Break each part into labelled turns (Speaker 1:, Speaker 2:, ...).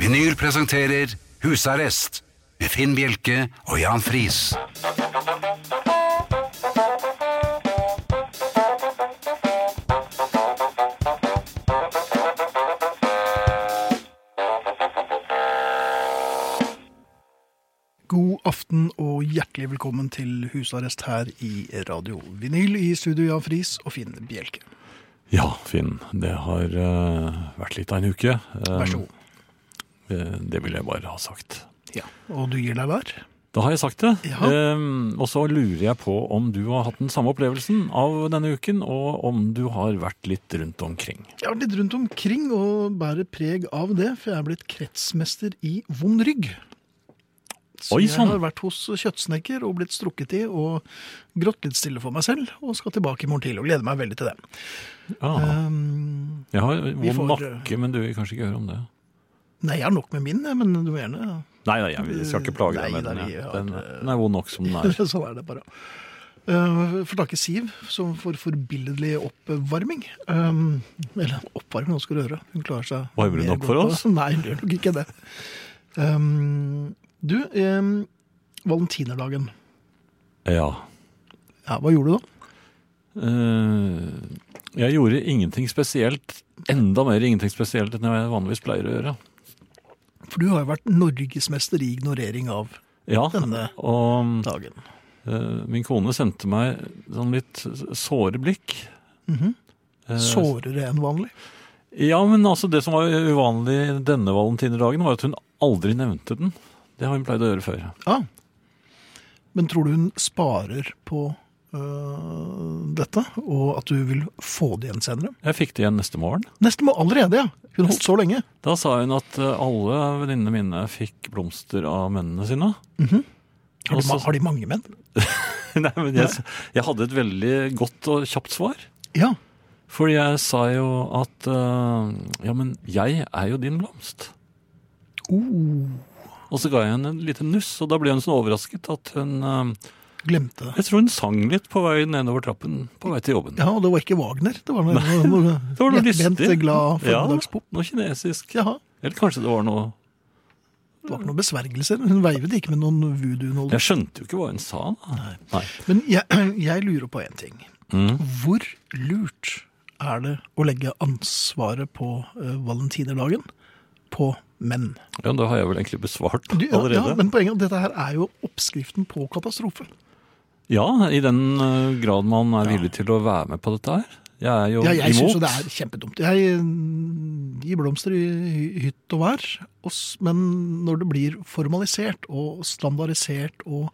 Speaker 1: Vinyl presenterer Husarrest med Finn Bjelke og Jan Friis.
Speaker 2: God aften og hjertelig velkommen til husarrest her i Radio Vinyl. I studio Jan Friis og Finn Bjelke.
Speaker 3: Ja, Finn. Det har eh, vært litt av en uke. Eh,
Speaker 2: Vær så god.
Speaker 3: eh, det vil jeg bare ha sagt.
Speaker 2: Og du gir deg der?
Speaker 3: Da har jeg sagt det.
Speaker 2: Ja.
Speaker 3: Eh, og så lurer jeg på om du har hatt den samme opplevelsen av denne uken, og om du har vært litt rundt omkring.
Speaker 2: Jeg har vært litt rundt omkring og bærer preg av det, for jeg er blitt kretsmester i vond rygg. Så
Speaker 3: Oi,
Speaker 2: jeg
Speaker 3: sann.
Speaker 2: har vært hos kjøttsnekker og blitt strukket i og grått litt stille for meg selv. Og skal tilbake i morgen tidlig og gleder meg veldig til det.
Speaker 3: Ja,
Speaker 2: Um,
Speaker 3: jeg har
Speaker 2: vi
Speaker 3: vond
Speaker 2: får- eh,
Speaker 3: nakke, men du vil kanskje ikke høre om det.
Speaker 2: nei, jeg har nok med min, jeg, men du må gjerne
Speaker 3: Nei, nei, jeg jeg skal ikke plage deg
Speaker 2: Nei,
Speaker 3: med den.
Speaker 2: nei,
Speaker 3: jeg.
Speaker 2: jeg har-
Speaker 3: Den, den er vond nok som den er.
Speaker 2: sånn er det bare. Uh, Får tak i Siv, som får forbilledlig oppvarming. Um, eller oppvarming, nå skal du høre. Hun klarer seg
Speaker 3: Varmer hun
Speaker 2: mer
Speaker 3: opp for
Speaker 2: godt.
Speaker 3: oss?
Speaker 2: Nei, hun gjør nok ikke det. Um, du, um, valentinerdagen.
Speaker 3: Ja.
Speaker 2: Ja, hva gjorde du da?
Speaker 3: Eh, jeg gjorde ingenting spesielt, enda mer ingenting spesielt enn jeg vanligvis pleier å gjøre.
Speaker 2: For du har jo vært norgesmester i ignorering av
Speaker 3: Ja,
Speaker 2: Denne
Speaker 3: og...
Speaker 2: dagen.
Speaker 3: Eh, Min kone sendte meg sånn litt såre blikk.
Speaker 2: Mhm.
Speaker 3: Eh,
Speaker 2: Sårere enn vanlig.
Speaker 3: Ja, men altså det som var uvanlig denne valentinerdagen, var at hun aldri nevnte den. Det har hun pleid å gjøre før.
Speaker 2: Ja. Ah. Men tror du hun sparer på øh, dette, og at du vil få det igjen senere?
Speaker 3: Jeg fikk det igjen neste morgen.
Speaker 2: Nesten må allerede, ja. Hun holdt så lenge.
Speaker 3: Da sa hun at eh, alle venninnene mine fikk blomster av mennene sine.
Speaker 2: Har de,
Speaker 3: Også-
Speaker 2: ma- har de mange menn?
Speaker 3: Nei, men jeg, jeg hadde et veldig godt og kjapt svar.
Speaker 2: Ja.
Speaker 3: Fordi jeg sa jo at eh, ja, men jeg er jo din blomst.
Speaker 2: Oh,
Speaker 3: Og så ga jeg henne en liten nuss, og da ble hun så overrasket at hun eh,
Speaker 2: glemte det.
Speaker 3: Jeg tror hun sang litt på vei nedover trappen på vei til jobben.
Speaker 2: Ja, og det var ikke Wagner. Det var noe, noe,
Speaker 3: Det var noe
Speaker 2: lettbent,
Speaker 3: lystig.
Speaker 2: glad
Speaker 3: Ja,
Speaker 2: formiddagspop.
Speaker 3: noe kinesisk.
Speaker 2: Jaha.
Speaker 3: Eller kanskje det var noe
Speaker 2: Det var ikke noen besvergelser. Hun veivet ikke med noen voodoo-nåler.
Speaker 3: Jeg skjønte jo ikke hva hun sa. da. Nei.
Speaker 2: Men jeg, jeg lurer på én ting.
Speaker 3: Mm.
Speaker 2: Hvor lurt er det å legge ansvaret på eh, valentinerdagen på menn?
Speaker 3: Ja, Da har jeg vel egentlig besvart
Speaker 2: Du, ja,
Speaker 3: allerede.
Speaker 2: Ja, men poenget er at dette her er jo oppskriften på katastrofe.
Speaker 3: Ja, i den eh, grad man er villig til å være med på dette her. Jeg er jo
Speaker 2: Ja, jeg syns
Speaker 3: imot.
Speaker 2: jo det er kjempedumt. Jeg mm, gir blomster i hy- hytt og vær, og s- men når det blir formalisert og standardisert og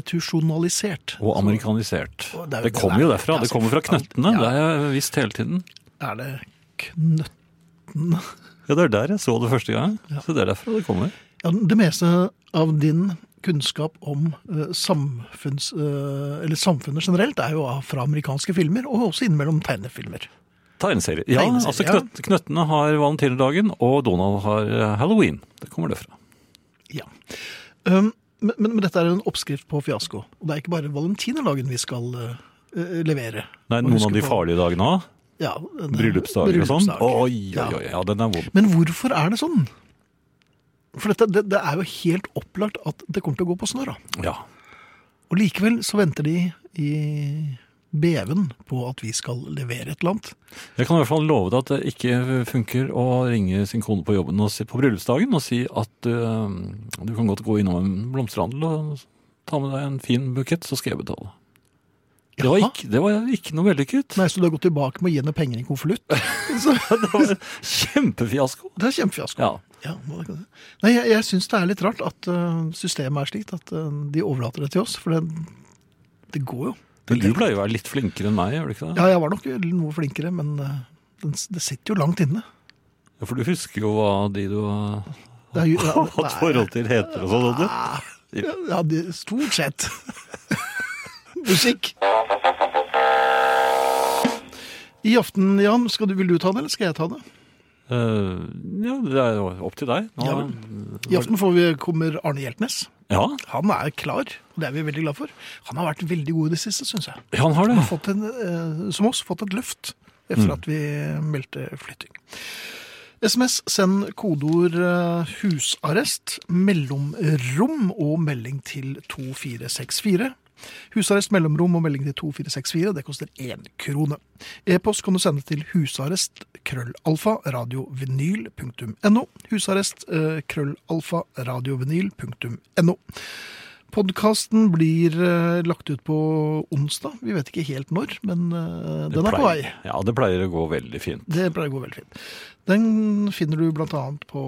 Speaker 2: institusjonalisert
Speaker 3: Og amerikanisert.
Speaker 2: Og det er
Speaker 3: Det,
Speaker 2: jo det
Speaker 3: kommer jo
Speaker 2: det er.
Speaker 3: derfra.
Speaker 2: Ja,
Speaker 3: Det kommer fra
Speaker 2: selvfølgelig.
Speaker 3: knøttene.
Speaker 2: Ja.
Speaker 3: Det har jeg visst hele tiden.
Speaker 2: så er det knøttene
Speaker 3: Ja, Det er der jeg så det første gang. Så det er derfra det kommer.
Speaker 2: ja, Det meste av din kunnskap om eh, samfunns, eh, eller samfunnet generelt er jo av- fra amerikanske filmer, og også innimellom tegnefilmer.
Speaker 3: Tegneserie. Ja,
Speaker 2: Tegneserie,
Speaker 3: altså
Speaker 2: ja.
Speaker 3: knøtt, Knøttene har valentinerdagen, og Donald har eh, halloween. Det kommer det fra.
Speaker 2: Ja. Um, men, men, men dette er en oppskrift på fiasko. Og det er ikke bare valentinerdagen vi skal eh, eh, levere.
Speaker 3: Nei,
Speaker 2: Og
Speaker 3: Noen
Speaker 2: huske
Speaker 3: av de
Speaker 2: på-
Speaker 3: farlige dagene òg.
Speaker 2: ja, den-
Speaker 3: Bryllupsdager og sånn.
Speaker 2: bryllupsdager.
Speaker 3: Oi, oi,
Speaker 2: Ja.
Speaker 3: oi, ja, den er vond.
Speaker 2: Men hvorfor er det sånn? For dette, det, det er jo helt opplagt at det kommer til å gå på snørra.
Speaker 3: Ja.
Speaker 2: Og likevel så venter de i beven på at vi skal levere et eller annet.
Speaker 3: Jeg kan i hvert fall love deg at det ikke funker å ringe sin kone på jobben og si, på bryllupsdagen og si at øh, du kan godt gå innom en blomsterhandel og ta med deg en fin bukett, så skal jeg betale. Det var
Speaker 2: Jaha.
Speaker 3: ikke, det var ikke noe vellykket.
Speaker 2: Nei, så du har gått tilbake med å gi henne penger i en konvolutt? Så-
Speaker 3: Det var kjempefiasko.
Speaker 2: Det er kjempefiasko.
Speaker 3: Ja.
Speaker 2: Ja, hva kan det- Nei, jeg, jeg syns det er litt rart at øh, systemet er slikt at øh, de overlater det til oss. For det, det går jo.
Speaker 3: Men du pleier å være litt flinkere enn meg, gjør du ikke det?
Speaker 2: Ja, jeg var nok noe flinkere, men øh, den, det sitter jo langt inne.
Speaker 3: Ja. For du husker jo hva de du har
Speaker 2: Det er jo, ja,
Speaker 3: hatt forhold til heter og sånn. og
Speaker 2: Ah, Ja, det, stort sett. Musikk. I aften, Jan, skal du, vil du ta det, eller skal jeg ta det?
Speaker 3: det. Eh, ja, det er jo opp til deg. Nå,
Speaker 2: Ja vel. I aften får vi, kommer Arne Hjeltnes.
Speaker 3: ja,
Speaker 2: Han er klar, og det er vi veldig glad for. Han har vært veldig god i det siste, syns jeg.
Speaker 3: han har det.
Speaker 2: Han
Speaker 3: Mm.
Speaker 2: har fått en, eh, som oss, fått et løft etter at vi meldte flytting. SMS, send kodeord eh, 'husarrest', mellomrom og melding til 2464. Husarrest, mellomrom og melding til 2464. Det koster én krone. E-post kan du sende til husarrest krøllalfa radiovinyl.no. Husarrest eh, krøllalfa radiovinyl.no. Podkasten blir eh, lagt ut på onsdag. Vi vet ikke helt når, men eh, den er på vei.
Speaker 3: Ja, det pleier å gå veldig fint.
Speaker 2: Det pleier å gå veldig fint. Den finner du blant annet på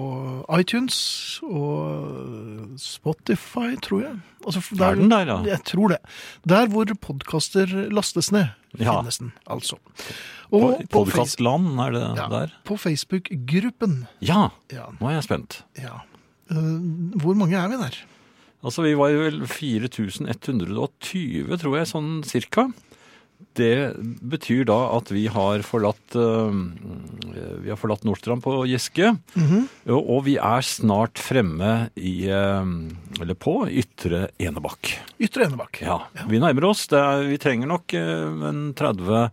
Speaker 2: iTunes og eh, Spotify, tror jeg. Altså, for
Speaker 3: Er den der, ja?
Speaker 2: Jeg tror det. Der hvor podkaster lastes ned,
Speaker 3: Ja.
Speaker 2: finnes den altså.
Speaker 3: På,
Speaker 2: Og på, Face-
Speaker 3: Podcastland, er det
Speaker 2: ja,
Speaker 3: der?
Speaker 2: på Facebook-gruppen.
Speaker 3: Ja,
Speaker 2: Ja,
Speaker 3: nå er jeg spent.
Speaker 2: ja. Eh, hvor mange er vi der?
Speaker 3: Altså, vi var jo vel 4120, tror jeg, sånn cirka. Det betyr da at vi har forlatt, eh, vi har forlatt Nordstrand på Giske,
Speaker 2: Mhm.
Speaker 3: og, og vi er snart fremme i, eh, eller på, Ytre Enebakk.
Speaker 2: Ytre Enebakk.
Speaker 3: Ja, vi nærmer oss. Det er, vi trenger nok eh, en 30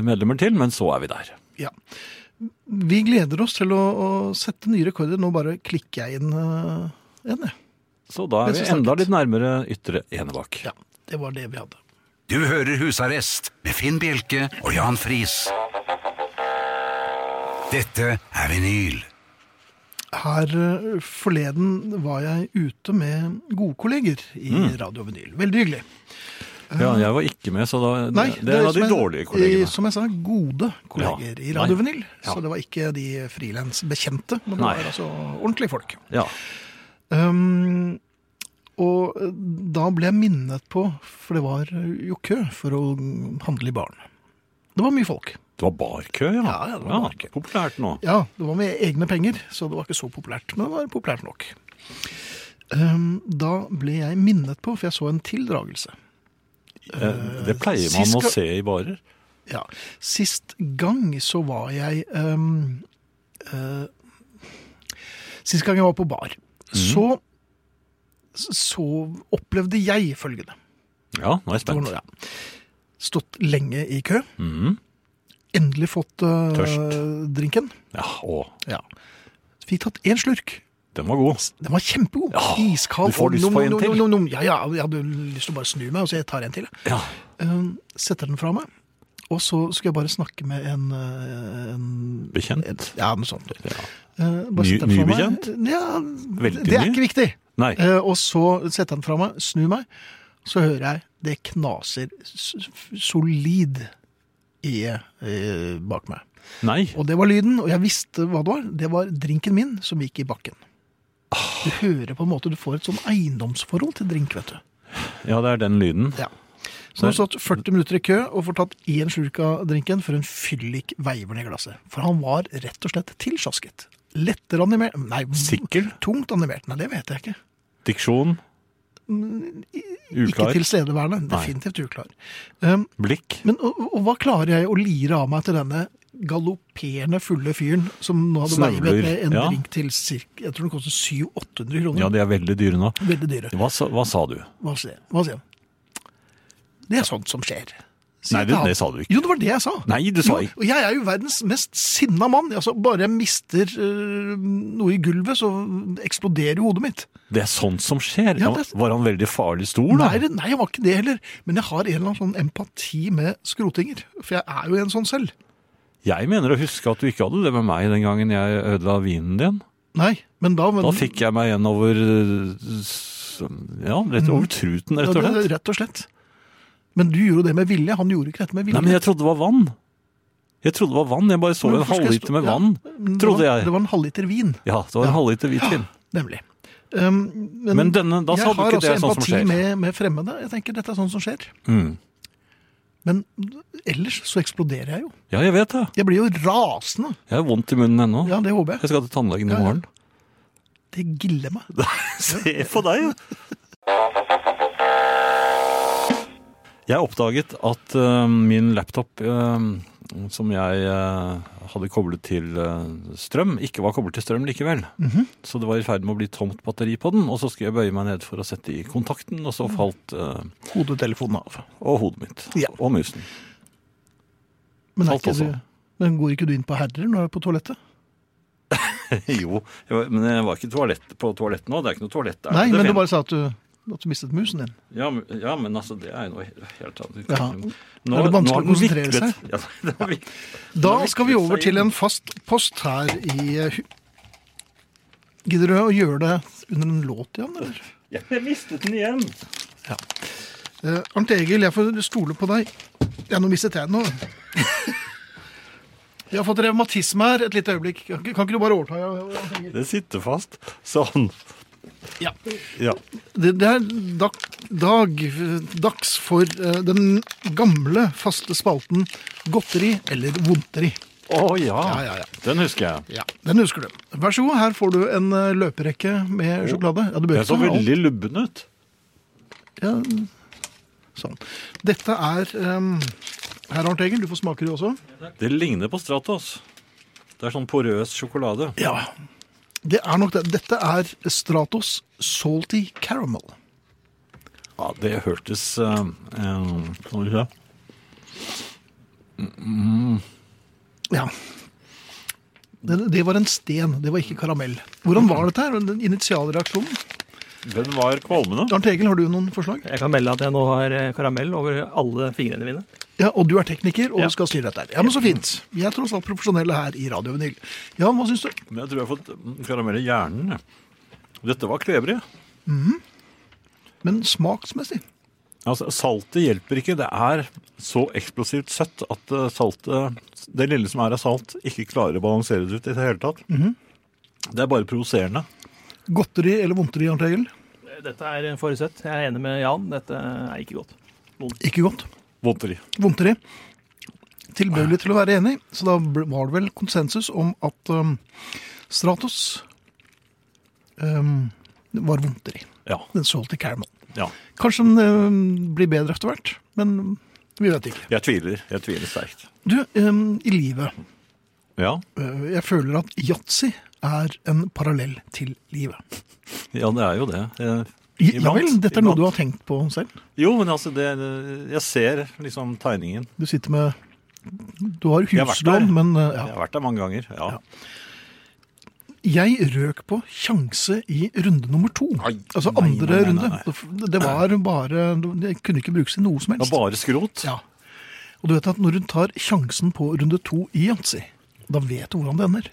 Speaker 3: medlemmer til, men så er vi der.
Speaker 2: Ja. Vi gleder oss til å, å sette nye rekorder. Nå bare klikker jeg inn eh, en, jeg.
Speaker 3: Så da er
Speaker 2: Det er
Speaker 3: vi
Speaker 2: så
Speaker 3: enda
Speaker 2: snakket.
Speaker 3: litt nærmere Ytre Enebakk.
Speaker 2: Ja, det var det vi hadde.
Speaker 1: Du hører Husarrest med Finn Bjelke og Jan Friis. Dette er vinyl.
Speaker 2: Her eh, forleden var jeg ute med gode kolleger i
Speaker 3: Mm.
Speaker 2: Radio Vinyl. Veldig hyggelig.
Speaker 3: Ja, jeg var ikke med, så da,
Speaker 2: Nei,
Speaker 3: det, det er en av
Speaker 2: som
Speaker 3: de
Speaker 2: jeg-
Speaker 3: dårlige kollegene.
Speaker 2: eh, Som jeg sa, gode kolleger
Speaker 3: Ja.
Speaker 2: i Radio
Speaker 3: Nei.
Speaker 2: Vinyl.
Speaker 3: Ja.
Speaker 2: Så det var ikke de frilansbekjente, men det
Speaker 3: Nei.
Speaker 2: var altså ordentlige folk.
Speaker 3: Ja.
Speaker 2: Um, og eh, da ble jeg minnet på, for det var jo kø for å handle i baren. Det var mye folk.
Speaker 3: Det var barkø, ja.
Speaker 2: Ja, ja, det var barkø.
Speaker 3: Populært nå.
Speaker 2: Ja, det var med egne penger, så det var ikke så populært, men det var populært nok. Ehm, da ble jeg minnet på, for jeg så en tildragelse.
Speaker 3: Eh, Det pleier man
Speaker 2: sist
Speaker 3: å
Speaker 2: ga-
Speaker 3: se i barer.
Speaker 2: Ja. Sist gang så var jeg ehm, eh, Sist gang jeg var på bar, så, så opplevde jeg følgende.
Speaker 3: Ja, nå er jeg
Speaker 2: Det var
Speaker 3: spent.
Speaker 2: nå- ja. Stått lenge i kø,
Speaker 3: Mhm.
Speaker 2: endelig fått eh,
Speaker 3: Tørst.
Speaker 2: drinken.
Speaker 3: Ja, å,
Speaker 2: Ja. Fikk tatt én slurk.
Speaker 3: den var god.
Speaker 2: Den var kjempegod.
Speaker 3: Ja,
Speaker 2: Iskald.
Speaker 3: du får lyst på
Speaker 2: Nom,
Speaker 3: en
Speaker 2: nom,
Speaker 3: til.
Speaker 2: nom, nom. Ja, ja, jeg hadde lyst til å bare snu meg, og så jeg tar en til. jeg.
Speaker 3: Ja.
Speaker 2: Eh, setter den fra meg, og så skal jeg bare snakke med en, eh, en
Speaker 3: Bekjent.
Speaker 2: Ja, noe sånt.
Speaker 3: Ja.
Speaker 2: Eh, bare
Speaker 3: Ny-
Speaker 2: setter den fra meg.
Speaker 3: nybekjent?
Speaker 2: Ja,
Speaker 3: Veldig
Speaker 2: det er
Speaker 3: ny.
Speaker 2: ikke viktig.
Speaker 3: Nei.
Speaker 2: Eh, og så setter jeg den fra meg, snur meg, så hører jeg det knaser s- f- solid i eh, bak meg.
Speaker 3: Nei.
Speaker 2: Og det var lyden, og jeg visste hva det var. Det var drinken min som gikk i bakken.
Speaker 3: Ah.
Speaker 2: Du hører på en måte, du får et sånn eiendomsforhold til drink, vet du.
Speaker 3: Ja, det er den lyden.
Speaker 2: Ja. Så nå har du stått 40 minutter i kø og får tatt én slurk av drinken før en fyllik veiver ned glasset. For han var rett og slett tilsjasket. Lettere animert Nei,
Speaker 3: Sikker?
Speaker 2: tungt animert. Nei, det vet jeg ikke.
Speaker 3: Diksjon?
Speaker 2: Ikke
Speaker 3: Uklar?
Speaker 2: tilstedeværende.
Speaker 3: Nei.
Speaker 2: Definitivt uklar. Um,
Speaker 3: Blikk?
Speaker 2: men og, og hva klarer jeg å lire av meg til denne galopperende fulle fyren som nå hadde
Speaker 3: Snøvler,
Speaker 2: veivet med en
Speaker 3: ja.
Speaker 2: drink til cirka, jeg tror den kostet 700-800 kroner.
Speaker 3: Ja, de er veldig dyre nå.
Speaker 2: Veldig dyre.
Speaker 3: Hva, sa- hva sa du?
Speaker 2: Hva sier, hva sier han? Det er sånt som skjer. sier
Speaker 3: Nei,
Speaker 2: jeg til
Speaker 3: det-
Speaker 2: han.
Speaker 3: det sa du ikke.
Speaker 2: Jo, det var det jeg sa.
Speaker 3: Nei, du sa
Speaker 2: Jo,
Speaker 3: ikke.
Speaker 2: Og jeg er jo verdens mest sinna mann. Altså, bare jeg mister øh, noe i gulvet, så eksploderer jo hodet mitt.
Speaker 3: Det er sånt som skjer.
Speaker 2: Ja, det-
Speaker 3: Var han veldig farlig stor, da?
Speaker 2: Nei, det- nei, jeg var ikke det heller. Men jeg har en eller annen sånn empati med skrotinger. For jeg er jo en sånn selv.
Speaker 3: Jeg mener å huske at du ikke hadde det med meg den gangen jeg ødela vinen din.
Speaker 2: Nei, men da...
Speaker 3: Da fikk jeg meg en over eh, s- Ja, rett over truten, rett
Speaker 2: Mm.
Speaker 3: og
Speaker 2: Ja, det-
Speaker 3: slett.
Speaker 2: Rett og slett. Men du gjorde det med vilje. Han gjorde ikke dette med vilje.
Speaker 3: Nei, men jeg trodde det var vann. Jeg trodde det var vann. Jeg bare så
Speaker 2: Men
Speaker 3: en
Speaker 2: hvorfor skal jeg stå-
Speaker 3: halvliter med
Speaker 2: Ja,
Speaker 3: vann,
Speaker 2: men det
Speaker 3: trodde
Speaker 2: var- Det
Speaker 3: jeg.
Speaker 2: var en halvliter vin,
Speaker 3: Ja, det var en halvliter hvitvin.
Speaker 2: nemlig. Um,
Speaker 3: Men denne, da sa du ikke det
Speaker 2: Jeg
Speaker 3: er sånn som
Speaker 2: har også empati
Speaker 3: skjer.
Speaker 2: med, med fremmede. Jeg tenker dette er sånn som skjer.
Speaker 3: Mm.
Speaker 2: Men ellers så eksploderer jeg jo.
Speaker 3: Ja, jeg vet det.
Speaker 2: Jeg blir jo rasende.
Speaker 3: Jeg har vondt i munnen ennå.
Speaker 2: Ja, det håper jeg.
Speaker 3: Jeg skal til tannlegen
Speaker 2: Ja, ja.
Speaker 3: i morgen.
Speaker 2: Det giller meg.
Speaker 3: Se på deg, jo! Jeg oppdaget at eh, min laptop, eh, som jeg eh, hadde koblet til eh, strøm, ikke var koblet til strøm likevel.
Speaker 2: Mhm.
Speaker 3: Så det var i ferd med å bli tomt batteri på den, og så skulle jeg bøye meg ned for å sette i kontakten, og så falt eh,
Speaker 2: Hodetelefonen av.
Speaker 3: og hodet mitt.
Speaker 2: Mhm. Ja.
Speaker 3: Og musen.
Speaker 2: Men, er
Speaker 3: Falt
Speaker 2: ikke
Speaker 3: også.
Speaker 2: du, men går ikke du inn på herrer når du er på toalettet?
Speaker 3: jo, jo, men jeg var ikke toalett, på toalett nå. Det er ikke noe toalett der.
Speaker 2: Nei,
Speaker 3: Det
Speaker 2: men du
Speaker 3: fin-
Speaker 2: bare sa at du, at du mistet musen din.
Speaker 3: ja, men- ja, men altså, det er noe he- helt annet.
Speaker 2: Ja.
Speaker 3: Nå,
Speaker 2: Er det vanskelig å
Speaker 3: nå har den
Speaker 2: konsentrere
Speaker 3: viklet-
Speaker 2: seg?
Speaker 3: Ja, det har vik-
Speaker 2: Da
Speaker 3: Nå vikler
Speaker 2: skal vi
Speaker 3: det
Speaker 2: over
Speaker 3: seg
Speaker 2: til
Speaker 3: inn.
Speaker 2: en fast post her i eh, hu- Gidder du å gjøre det under en låt igjen, eller?
Speaker 3: Ja, Jeg mistet den igjen!
Speaker 2: Ja. Eh, Arnt Egil, jeg får stole på deg. Ja, nå mistet jeg den nå. Vi har fått revmatisme her et lite øyeblikk. Kan ikke kan ikke du bare overta? Arnt Egil?
Speaker 3: Det sitter fast. Sånn.
Speaker 2: Ja.
Speaker 3: Ja.
Speaker 2: Det, det er dag, dag, dags for eh, den gamle, faste spalten godteri eller vondteri.
Speaker 3: Å ja.
Speaker 2: Ja, ja, ja.
Speaker 3: Den husker jeg.
Speaker 2: Ja, Den husker du. Vær så god, her får du en eh, løperekke med sjokolade. Ja, du bør
Speaker 3: Den
Speaker 2: ikke
Speaker 3: så
Speaker 2: ha alt.
Speaker 3: veldig lubben ut.
Speaker 2: Ja, sånn. Dette er um, Herr Arnt Egil, du får smake det også.
Speaker 3: Det ligner på Stratos. Det er sånn porøs sjokolade.
Speaker 2: Ja. Det er nok det. Dette er Stratos Salty Caramel.
Speaker 3: Ja, det hørtes eh, eh, Skal vi se.
Speaker 2: Ja. Det, det var en sten, det var ikke karamell. Hvordan var dette her? Den initialreaksjonen?
Speaker 3: Den var kvalmende.
Speaker 2: Arnt Egil, har du noen forslag?
Speaker 4: Jeg kan melde at jeg nå har eh, karamell over alle fingrene mine.
Speaker 2: Ja, Og du er tekniker og
Speaker 4: Ja.
Speaker 2: skal styre dette her. Ja, men Så fint. Vi er tross alt profesjonelle her i Radio Vinyl. Jan, hva syns du?
Speaker 3: Men jeg tror jeg har fått mm, karamell i hjernen. jeg. Dette var klebrig.
Speaker 2: Men smaksmessig?
Speaker 3: Altså, saltet hjelper ikke. Det er så eksplosivt søtt at eh, saltet, det lille som er av salt, ikke klarer å balansere det ut i det hele tatt. Det er bare provoserende.
Speaker 2: Godteri eller vondteri, Arnt Egil?
Speaker 4: Dette er for søtt. Jeg er enig med Jan. Dette er ikke godt.
Speaker 2: Ikke godt.
Speaker 3: Vondteri.
Speaker 2: Vondteri. Tilbøyelig til å være enig, så da ble- var det vel konsensus om at um, Stratos um, var vondteri.
Speaker 3: Ja.
Speaker 2: Den solgte Caramel.
Speaker 3: ja.
Speaker 2: Kanskje den um, blir bedre etter hvert, men vi vet ikke.
Speaker 3: Jeg tviler. Jeg tviler sterkt.
Speaker 2: Du, um, i livet
Speaker 3: Ja.
Speaker 2: øh, Jeg føler at yatzy er en parallell til livet.
Speaker 3: ja, det er jo det. Eh,
Speaker 2: I- Ja
Speaker 3: iblant-
Speaker 2: vel, dette er noe
Speaker 3: iblant.
Speaker 2: du har tenkt på selv.
Speaker 3: Jo, men altså, det, det- jeg ser liksom tegningen.
Speaker 2: Du sitter med Du har
Speaker 3: har vært der.
Speaker 2: huslån, men uh, ja.
Speaker 3: Jeg har vært der mange ganger. Ja.
Speaker 2: Jeg røk på sjanse i runde nummer to.
Speaker 3: Nei,
Speaker 2: altså
Speaker 3: nei,
Speaker 2: andre
Speaker 3: nei, nei, nei.
Speaker 2: runde. Det var bare Det kunne ikke brukes til noe som
Speaker 3: Det var
Speaker 2: helst.
Speaker 3: bare skrot.
Speaker 2: Ja. Og du vet at når hun tar sjansen på runde to i yatzy, da vet du hvordan det ender.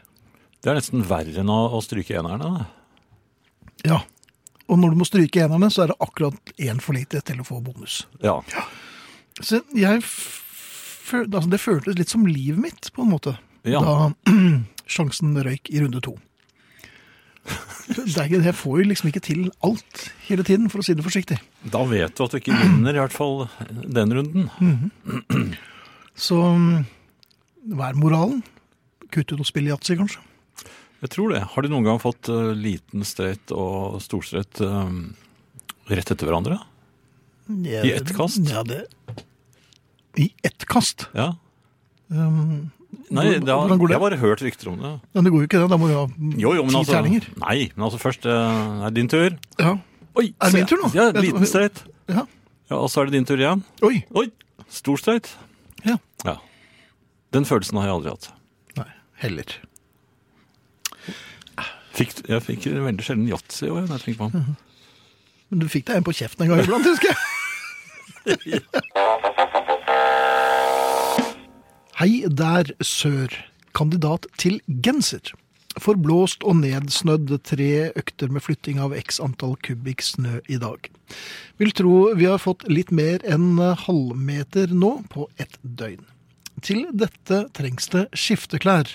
Speaker 3: Det er nesten verre enn å, å stryke enerne. da.
Speaker 2: Ja. Og når du må stryke enerne, så er det akkurat én for lite til å få bonus.
Speaker 3: Ja.
Speaker 2: Så jeg f- føl- altså Det føltes litt som livet mitt, på en måte,
Speaker 3: Ja.
Speaker 2: da sjansen røyk i runde to. Det er ikke, jeg får jo liksom ikke til alt hele tiden, for å si det forsiktig.
Speaker 3: Da vet du at du ikke vinner, i hvert fall den runden.
Speaker 2: Så mm, hva er moralen? Kutt ut å spille yatzy, kanskje?
Speaker 3: Jeg tror det. Har de noen gang fått eh, liten straight og storstraight eh, rett etter hverandre? I ett kast?
Speaker 2: Ja, det... I ett kast?
Speaker 3: Ja.
Speaker 2: Um,
Speaker 3: Nei,
Speaker 2: Hvordan-
Speaker 3: det har,
Speaker 2: hvordan går det?
Speaker 3: jeg har bare hørt rykter om det.
Speaker 2: men det går jo ikke, det. Da må du ha
Speaker 3: Jo, jo, men
Speaker 2: ti
Speaker 3: altså,
Speaker 2: terninger.
Speaker 3: nei, men altså først eh, er det din tur.
Speaker 2: Ja.
Speaker 3: Oi,
Speaker 2: Er det
Speaker 3: se-
Speaker 2: min tur nå?
Speaker 3: Ja,
Speaker 2: Jeg-
Speaker 3: liten straight.
Speaker 2: ja.
Speaker 3: Ja, og så er det din tur igjen.
Speaker 2: Oi!
Speaker 3: Oi, stor straight.
Speaker 2: Ja.
Speaker 3: Ja. Den følelsen har jeg aldri hatt.
Speaker 2: Nei, heller.
Speaker 3: Fikk, jeg fikk veldig sjelden yatzy i år, når jeg tenker på den.
Speaker 2: Men du fikk deg en på kjeften en gang iblant, husker jeg. Hei der, sør. Kandidat til genser. Forblåst og nedsnødd tre økter med flytting av x antall kubikk snø i dag. Vil tro vi har fått litt mer enn halvmeter nå på ett døgn. Til dette trengs det skifteklær,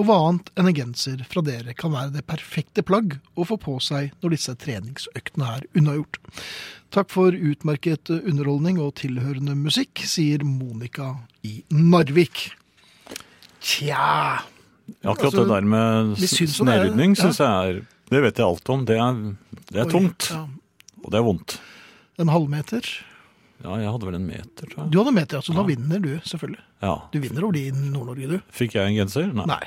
Speaker 2: og hva annet enn en genser fra dere kan være det perfekte plagg å få på seg når disse treningsøktene er unnagjort. Takk for utmerket underholdning og tilhørende musikk, sier Monica i Narvik. Tja
Speaker 3: Akkurat
Speaker 2: Altså,
Speaker 3: det der med
Speaker 2: vi
Speaker 3: s-
Speaker 2: syns jo det er-
Speaker 3: snørydning
Speaker 2: ja.
Speaker 3: syns jeg er Det vet jeg alt om. Det er, det er
Speaker 2: Oi,
Speaker 3: tungt,
Speaker 2: Ja,
Speaker 3: og det er vondt.
Speaker 2: en halvmeter.
Speaker 3: Ja, jeg hadde vel en meter, tror jeg.
Speaker 2: Du hadde meter, altså. Da vinner du, selvfølgelig.
Speaker 3: Ja.
Speaker 2: Du vinner over de i Nord-Norge, du.
Speaker 3: Fikk jeg en genser? Nei.
Speaker 2: Nei.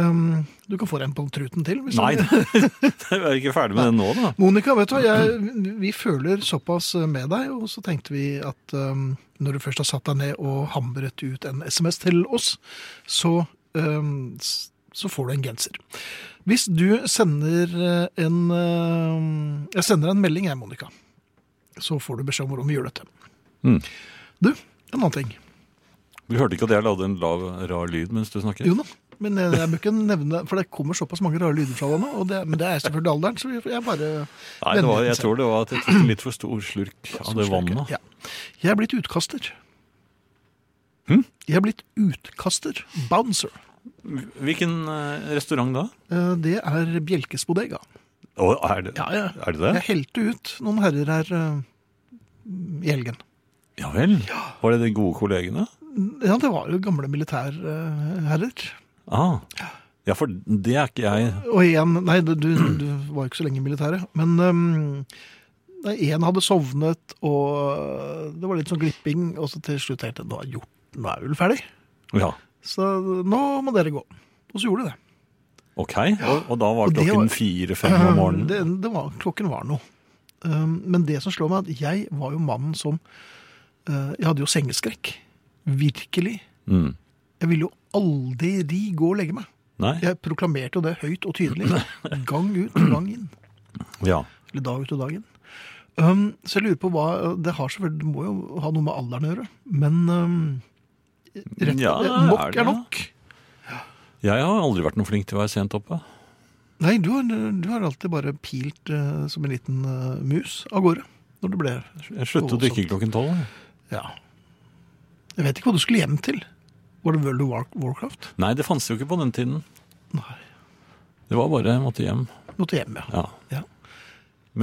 Speaker 2: Um, du kan få deg en på truten til. hvis du-
Speaker 3: Nei, jeg er ikke ferdig med det nå, da.
Speaker 2: Monica, vet du hva? Jeg, vi føler såpass med deg, og så tenkte vi at um, når du først har satt deg ned og hamret ut en SMS til oss, så um, s- så får du en genser. Hvis du sender eh, en eh, Jeg sender deg en melding, jeg, Monica. Så får du beskjed om hvordan vi gjør dette.
Speaker 3: Mm.
Speaker 2: Du, en annen ting.
Speaker 3: Du hørte ikke at jeg lagde en lav, rar lyd mens du snakket?
Speaker 2: Jo da. Men jeg, jeg bør ikke nevne For det kommer såpass mange rare lyder fra deg nå. Og det, men det er selvfølgelig alderen, så jeg- jeg bare
Speaker 3: Nei, det var,
Speaker 2: vennligheten
Speaker 3: jeg
Speaker 2: selv.
Speaker 3: tror det var at jeg tok en litt for stor slurk av det vannet.
Speaker 2: Ja. Jeg er blitt utkaster.
Speaker 3: Hm?
Speaker 2: Jeg er blitt utkaster. Bouncer.
Speaker 3: Hvilken eh, restaurant da?
Speaker 2: Eh, Det er Bjelkes bodega.
Speaker 3: Å, er, det,
Speaker 2: Ja, ja.
Speaker 3: er det det?
Speaker 2: Jeg helte ut noen herrer her eh, i helgen.
Speaker 3: Ja vel. Var det de gode kollegene?
Speaker 2: Ja, det var jo gamle eh, militærherrer.
Speaker 3: Ah. Ja, for det er ikke jeg.
Speaker 2: Og én Nei, du, du du var jo ikke så lenge i militæret. Men um, én hadde sovnet, og det var litt sånn glipping. Og så til slutt tenkte jeg nå er det gjort, nå er jeg vel ferdig.
Speaker 3: Ja,
Speaker 2: Så nå må dere gå. Og så gjorde de det.
Speaker 3: ok. Og, og da var
Speaker 2: Og det var- Um,
Speaker 3: klokken fire-fem om morgenen.
Speaker 2: Det, Mm. det var, klokken var noe. Um, men det som slår meg, er at jeg var jo mannen som uh, Jeg hadde jo sengeskrekk. Virkelig.
Speaker 3: Mm.
Speaker 2: Jeg ville jo aldri gå og legge meg.
Speaker 3: Nei?
Speaker 2: Jeg proklamerte jo det høyt og tydelig. Gang ut og gang inn.
Speaker 3: Ja.
Speaker 2: Eller dag ut og dag inn. Um, så jeg lurer på hva Det har selvfølgelig, det må jo ha noe med alderen å gjøre, men um, rett, eh,
Speaker 3: Ja,
Speaker 2: nok
Speaker 3: er
Speaker 2: er,
Speaker 3: det?
Speaker 2: nok.
Speaker 3: Jeg har aldri vært noe flink til å være sent oppe.
Speaker 2: Nei, du har, du har alltid bare pilt eh, som en liten eh, mus av gårde når du ble
Speaker 3: Jeg sluttet å drikke klokken tolv. jeg.
Speaker 2: Ja. Jeg vet ikke hva du skulle hjem til. Var det World of War- Warcraft?
Speaker 3: Nei, det fantes jo ikke på den tiden.
Speaker 2: Nei.
Speaker 3: Det var bare jeg måtte hjem.
Speaker 2: Du måtte hjem, ja.
Speaker 3: Ja.
Speaker 2: Ja.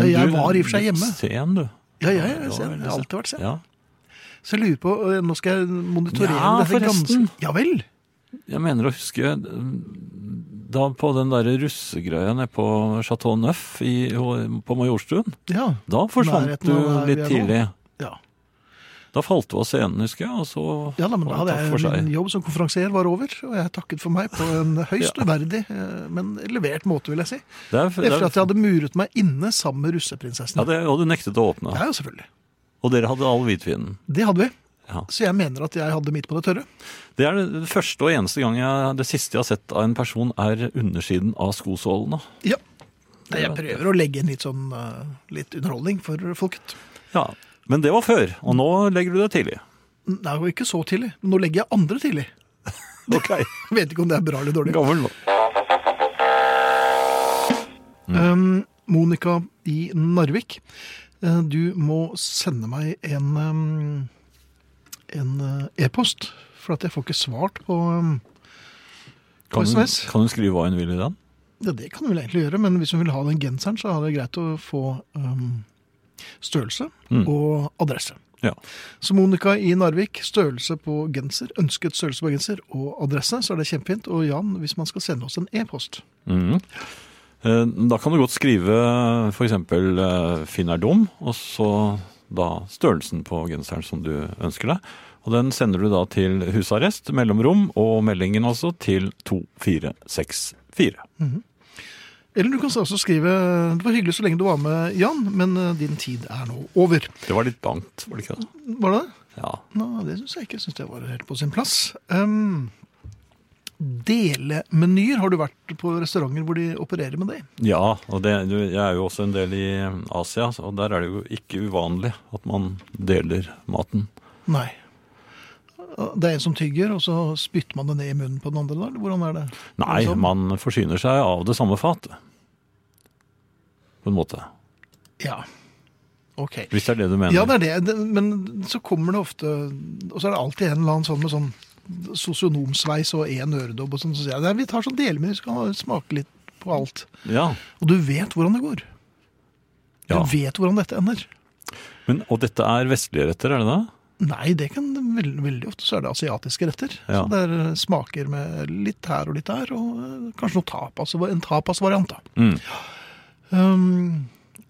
Speaker 2: Jeg var i og for seg
Speaker 3: litt
Speaker 2: hjemme.
Speaker 3: Sen, du.
Speaker 2: Ja, jeg,
Speaker 3: Ja,
Speaker 2: er sen. jeg
Speaker 3: veldig
Speaker 2: har alltid vært sen.
Speaker 3: Ja.
Speaker 2: Så jeg lurer på, øh, nå skal jeg monitorere
Speaker 3: Ja,
Speaker 2: dette
Speaker 3: forresten.
Speaker 2: ganske... Ja vel?
Speaker 3: Jeg mener å huske mm, da på den der russegreia nede på Chateau Neuf i, på Majorstuen.
Speaker 2: Ja.
Speaker 3: Da forsvant
Speaker 2: Nærheten
Speaker 3: du
Speaker 2: av der vi
Speaker 3: litt
Speaker 2: er nå.
Speaker 3: tidlig.
Speaker 2: Ja,
Speaker 3: Da falt du av scenen, husker jeg. Og så
Speaker 2: ja da, men da
Speaker 3: var
Speaker 2: hadde
Speaker 3: det takk for
Speaker 2: jeg
Speaker 3: seg.
Speaker 2: min jobb som konferansier var over, og jeg takket for meg på en høyst uverdig, øh, men levert måte, vil jeg si.
Speaker 3: Det er, det
Speaker 2: Efter at
Speaker 3: er,
Speaker 2: jeg hadde muret meg inne sammen med russeprinsessen.
Speaker 3: ja, det, og du nektet å åpne.
Speaker 2: Ja, ja, selvfølgelig.
Speaker 3: Og dere hadde all hvitvinen.
Speaker 2: Det hadde vi.
Speaker 3: Ja.
Speaker 2: Så jeg mener at jeg hadde mitt på det tørre.
Speaker 3: Det er det første og eneste gang jeg, det siste jeg har sett av en person, er undersiden av skosålene.
Speaker 2: Ja. Nei, jeg prøver å legge inn litt sånn øh, litt underholdning for folket.
Speaker 3: Ja, Men det var før, og nå legger du det tidlig.
Speaker 2: Det er jo ikke så tidlig. men Nå legger jeg andre tidlig.
Speaker 3: Ok,
Speaker 2: Jeg vet ikke om det er bra eller dårlig.
Speaker 3: Gammel nå. Mm.
Speaker 2: Um, Monica i Narvik, eh, du må sende meg en um, en eh, e-post, for at jeg får ikke svart på um,
Speaker 3: Kan, hun-
Speaker 2: SMS.
Speaker 3: kan hun skrive hva hun vil i den?
Speaker 2: ja, Det kan du vel egentlig gjøre, men hvis hun vil ha den genseren, så er det greit å få um, størrelse
Speaker 3: Mm.
Speaker 2: og adresse.
Speaker 3: Ja.
Speaker 2: Så Monica i Narvik, størrelse på genser, ønsket størrelse på genser og adresse, så er det kjempefint. Og Jan, hvis man skal sende oss en e-post
Speaker 3: Mhm. Eh, Da kan du godt skrive f.eks. 'Finn er dum', og så da størrelsen på genseren som du ønsker deg. Og den sender du da til husarrest, mellomrom, og meldingen altså til 2464.
Speaker 2: Eller du kan også skrive Det var hyggelig så lenge du var med, Jan, men eh, din tid er nå over.
Speaker 3: Det var litt bangt, var det ikke det?
Speaker 2: Var det det?
Speaker 3: Ja.
Speaker 2: Nå, det syns jeg ikke. Jeg syns det var helt på sin plass. Um, delemenyer. Har du vært på restauranter hvor de opererer med det?
Speaker 3: Ja, og det, du, jeg er jo også en del i Asia, og der er det jo ikke uvanlig at man deler maten.
Speaker 2: Nei. Det er en som tygger, og så spytter man det ned i munnen på den andre? Eller? Hvordan er det?
Speaker 3: Nei,
Speaker 2: Sånn?
Speaker 3: man forsyner seg av det samme fatet. På en måte.
Speaker 2: Ja. Ok.
Speaker 3: Hvis det er det du mener.
Speaker 2: Ja, det er det. det. Men så kommer det ofte Og så er det alltid en eller annen sånn med sånn sosionomsveis og én øredobb og sånn. Så sier jeg nei, vi tar sånn delmeny, så kan man smake litt på alt.
Speaker 3: Ja.
Speaker 2: Og du vet hvordan det går. Du
Speaker 3: Ja.
Speaker 2: vet hvordan dette ender.
Speaker 3: Men, og dette er vestlige retter, er det det?
Speaker 2: Nei, det kan veldig, veldig ofte så er det asiatiske retter.
Speaker 3: Ja.
Speaker 2: Så det er eh, smaker med litt her og litt der, og eh, kanskje noe tapas, en tapasvariant. da.
Speaker 3: Mm.
Speaker 2: Um,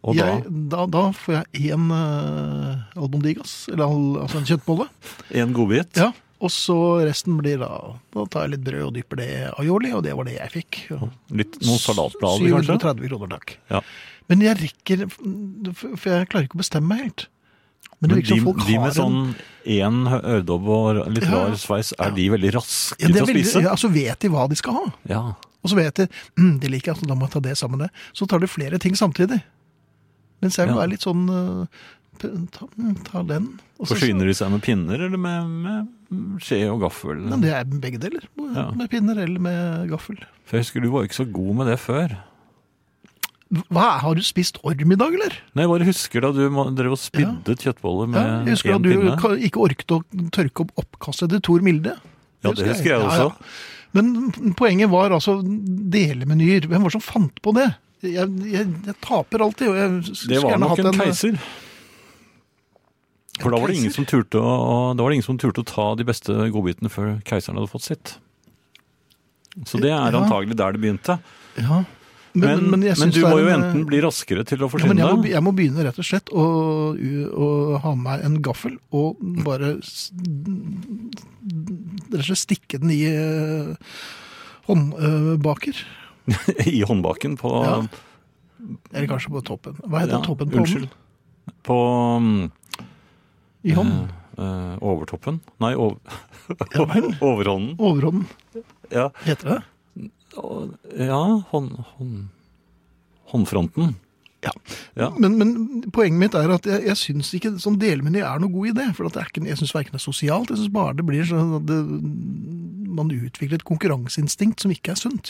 Speaker 3: Og
Speaker 2: jeg, da? Da får jeg én uh, albondigas, eller al, altså en kjøttbolle.
Speaker 3: da en godbit.
Speaker 2: Ja, og så resten blir da Da tar jeg litt brød og dypper det i aioli, og det var det jeg fikk. Og
Speaker 3: Litt, noen salatblader, kanskje?
Speaker 2: 730 kroner, takk.
Speaker 3: Ja.
Speaker 2: Men jeg rekker For jeg klarer ikke å bestemme meg helt. Men det
Speaker 3: Men
Speaker 2: virker
Speaker 3: de,
Speaker 2: som folk
Speaker 3: de
Speaker 2: har
Speaker 3: med sånn
Speaker 2: en
Speaker 3: én øredobb og litt
Speaker 2: Ja.
Speaker 3: rar sveis, er de veldig raske
Speaker 2: ja, det
Speaker 3: til
Speaker 2: er
Speaker 3: å
Speaker 2: veldig,
Speaker 3: spise?
Speaker 2: ja, altså vet de hva de skal ha?
Speaker 3: Ja.
Speaker 2: Og så vet jeg mm, det liker jeg, så da må jeg ta det sammen med det. Så tar du flere ting samtidig. Mens jeg vil
Speaker 3: Ja.
Speaker 2: være litt sånn eh, p- ta, mm, ta den. og så-
Speaker 3: Forsyner de seg med pinner eller med, med skje og gaffel?
Speaker 2: Ja, det er begge deler. Med
Speaker 3: Ja.
Speaker 2: med pinner eller med gaffel.
Speaker 3: For jeg husker du var ikke så god med det før.
Speaker 2: Hva, Har du spist orm i dag, eller?
Speaker 3: Nei, jeg bare husker da du må- drev og spydde
Speaker 2: Ja,
Speaker 3: kjøttboller med
Speaker 2: jeg husker
Speaker 3: én
Speaker 2: at du
Speaker 3: pinne.
Speaker 2: ka- ikke orket å tørke opp oppkastet til Tor Milde.
Speaker 3: Ja, det husker jeg også.
Speaker 2: Ja, ja. Men poenget var altså delemenyer. Hvem var det som fant på det? Jeg, jeg, jeg taper alltid. Og jeg skulle
Speaker 3: Det var
Speaker 2: gjerne
Speaker 3: nok
Speaker 2: hatt eh,
Speaker 3: en keiser. For da var det ingen
Speaker 2: keiser?
Speaker 3: som turte å, å- da var det ingen som turte å ta de beste godbitene før keiseren hadde fått sitt. Så det er
Speaker 2: Ja.
Speaker 3: antagelig der det begynte.
Speaker 2: Ja. Men,
Speaker 3: Men, men,
Speaker 2: jeg syns
Speaker 3: du
Speaker 2: det er
Speaker 3: må jo
Speaker 2: en,
Speaker 3: enten bli raskere til
Speaker 2: ja,
Speaker 3: å
Speaker 2: men
Speaker 3: forsyne
Speaker 2: jeg, må, be-
Speaker 3: deg.
Speaker 2: jeg må begynne rett og slett å, å ha med meg en gaffel og bare s- rett og slett stikke den i eh, håndbaker.
Speaker 3: I håndbaken på
Speaker 2: Ja. Eller kanskje på toppen. Hva heter
Speaker 3: Ja,
Speaker 2: toppen på
Speaker 3: unnskyld.
Speaker 2: hånden?
Speaker 3: På mm,
Speaker 2: I hånden?
Speaker 3: eh, overtoppen? Nei, over,
Speaker 2: Ja vel.
Speaker 3: overhånden.
Speaker 2: Overhånden,
Speaker 3: Ja,
Speaker 2: heter det.
Speaker 3: og- ja hånd, hånd, håndfronten.
Speaker 2: Ja.
Speaker 3: Ja.
Speaker 2: Men, men poenget mitt er at jeg, jeg syns ikke sånn delmeny er noen god idé. For at det er ikke, jeg syns verken det er sosialt, jeg syns bare det blir sånn at det, man utvikler et konkurranseinstinkt som ikke er sunt.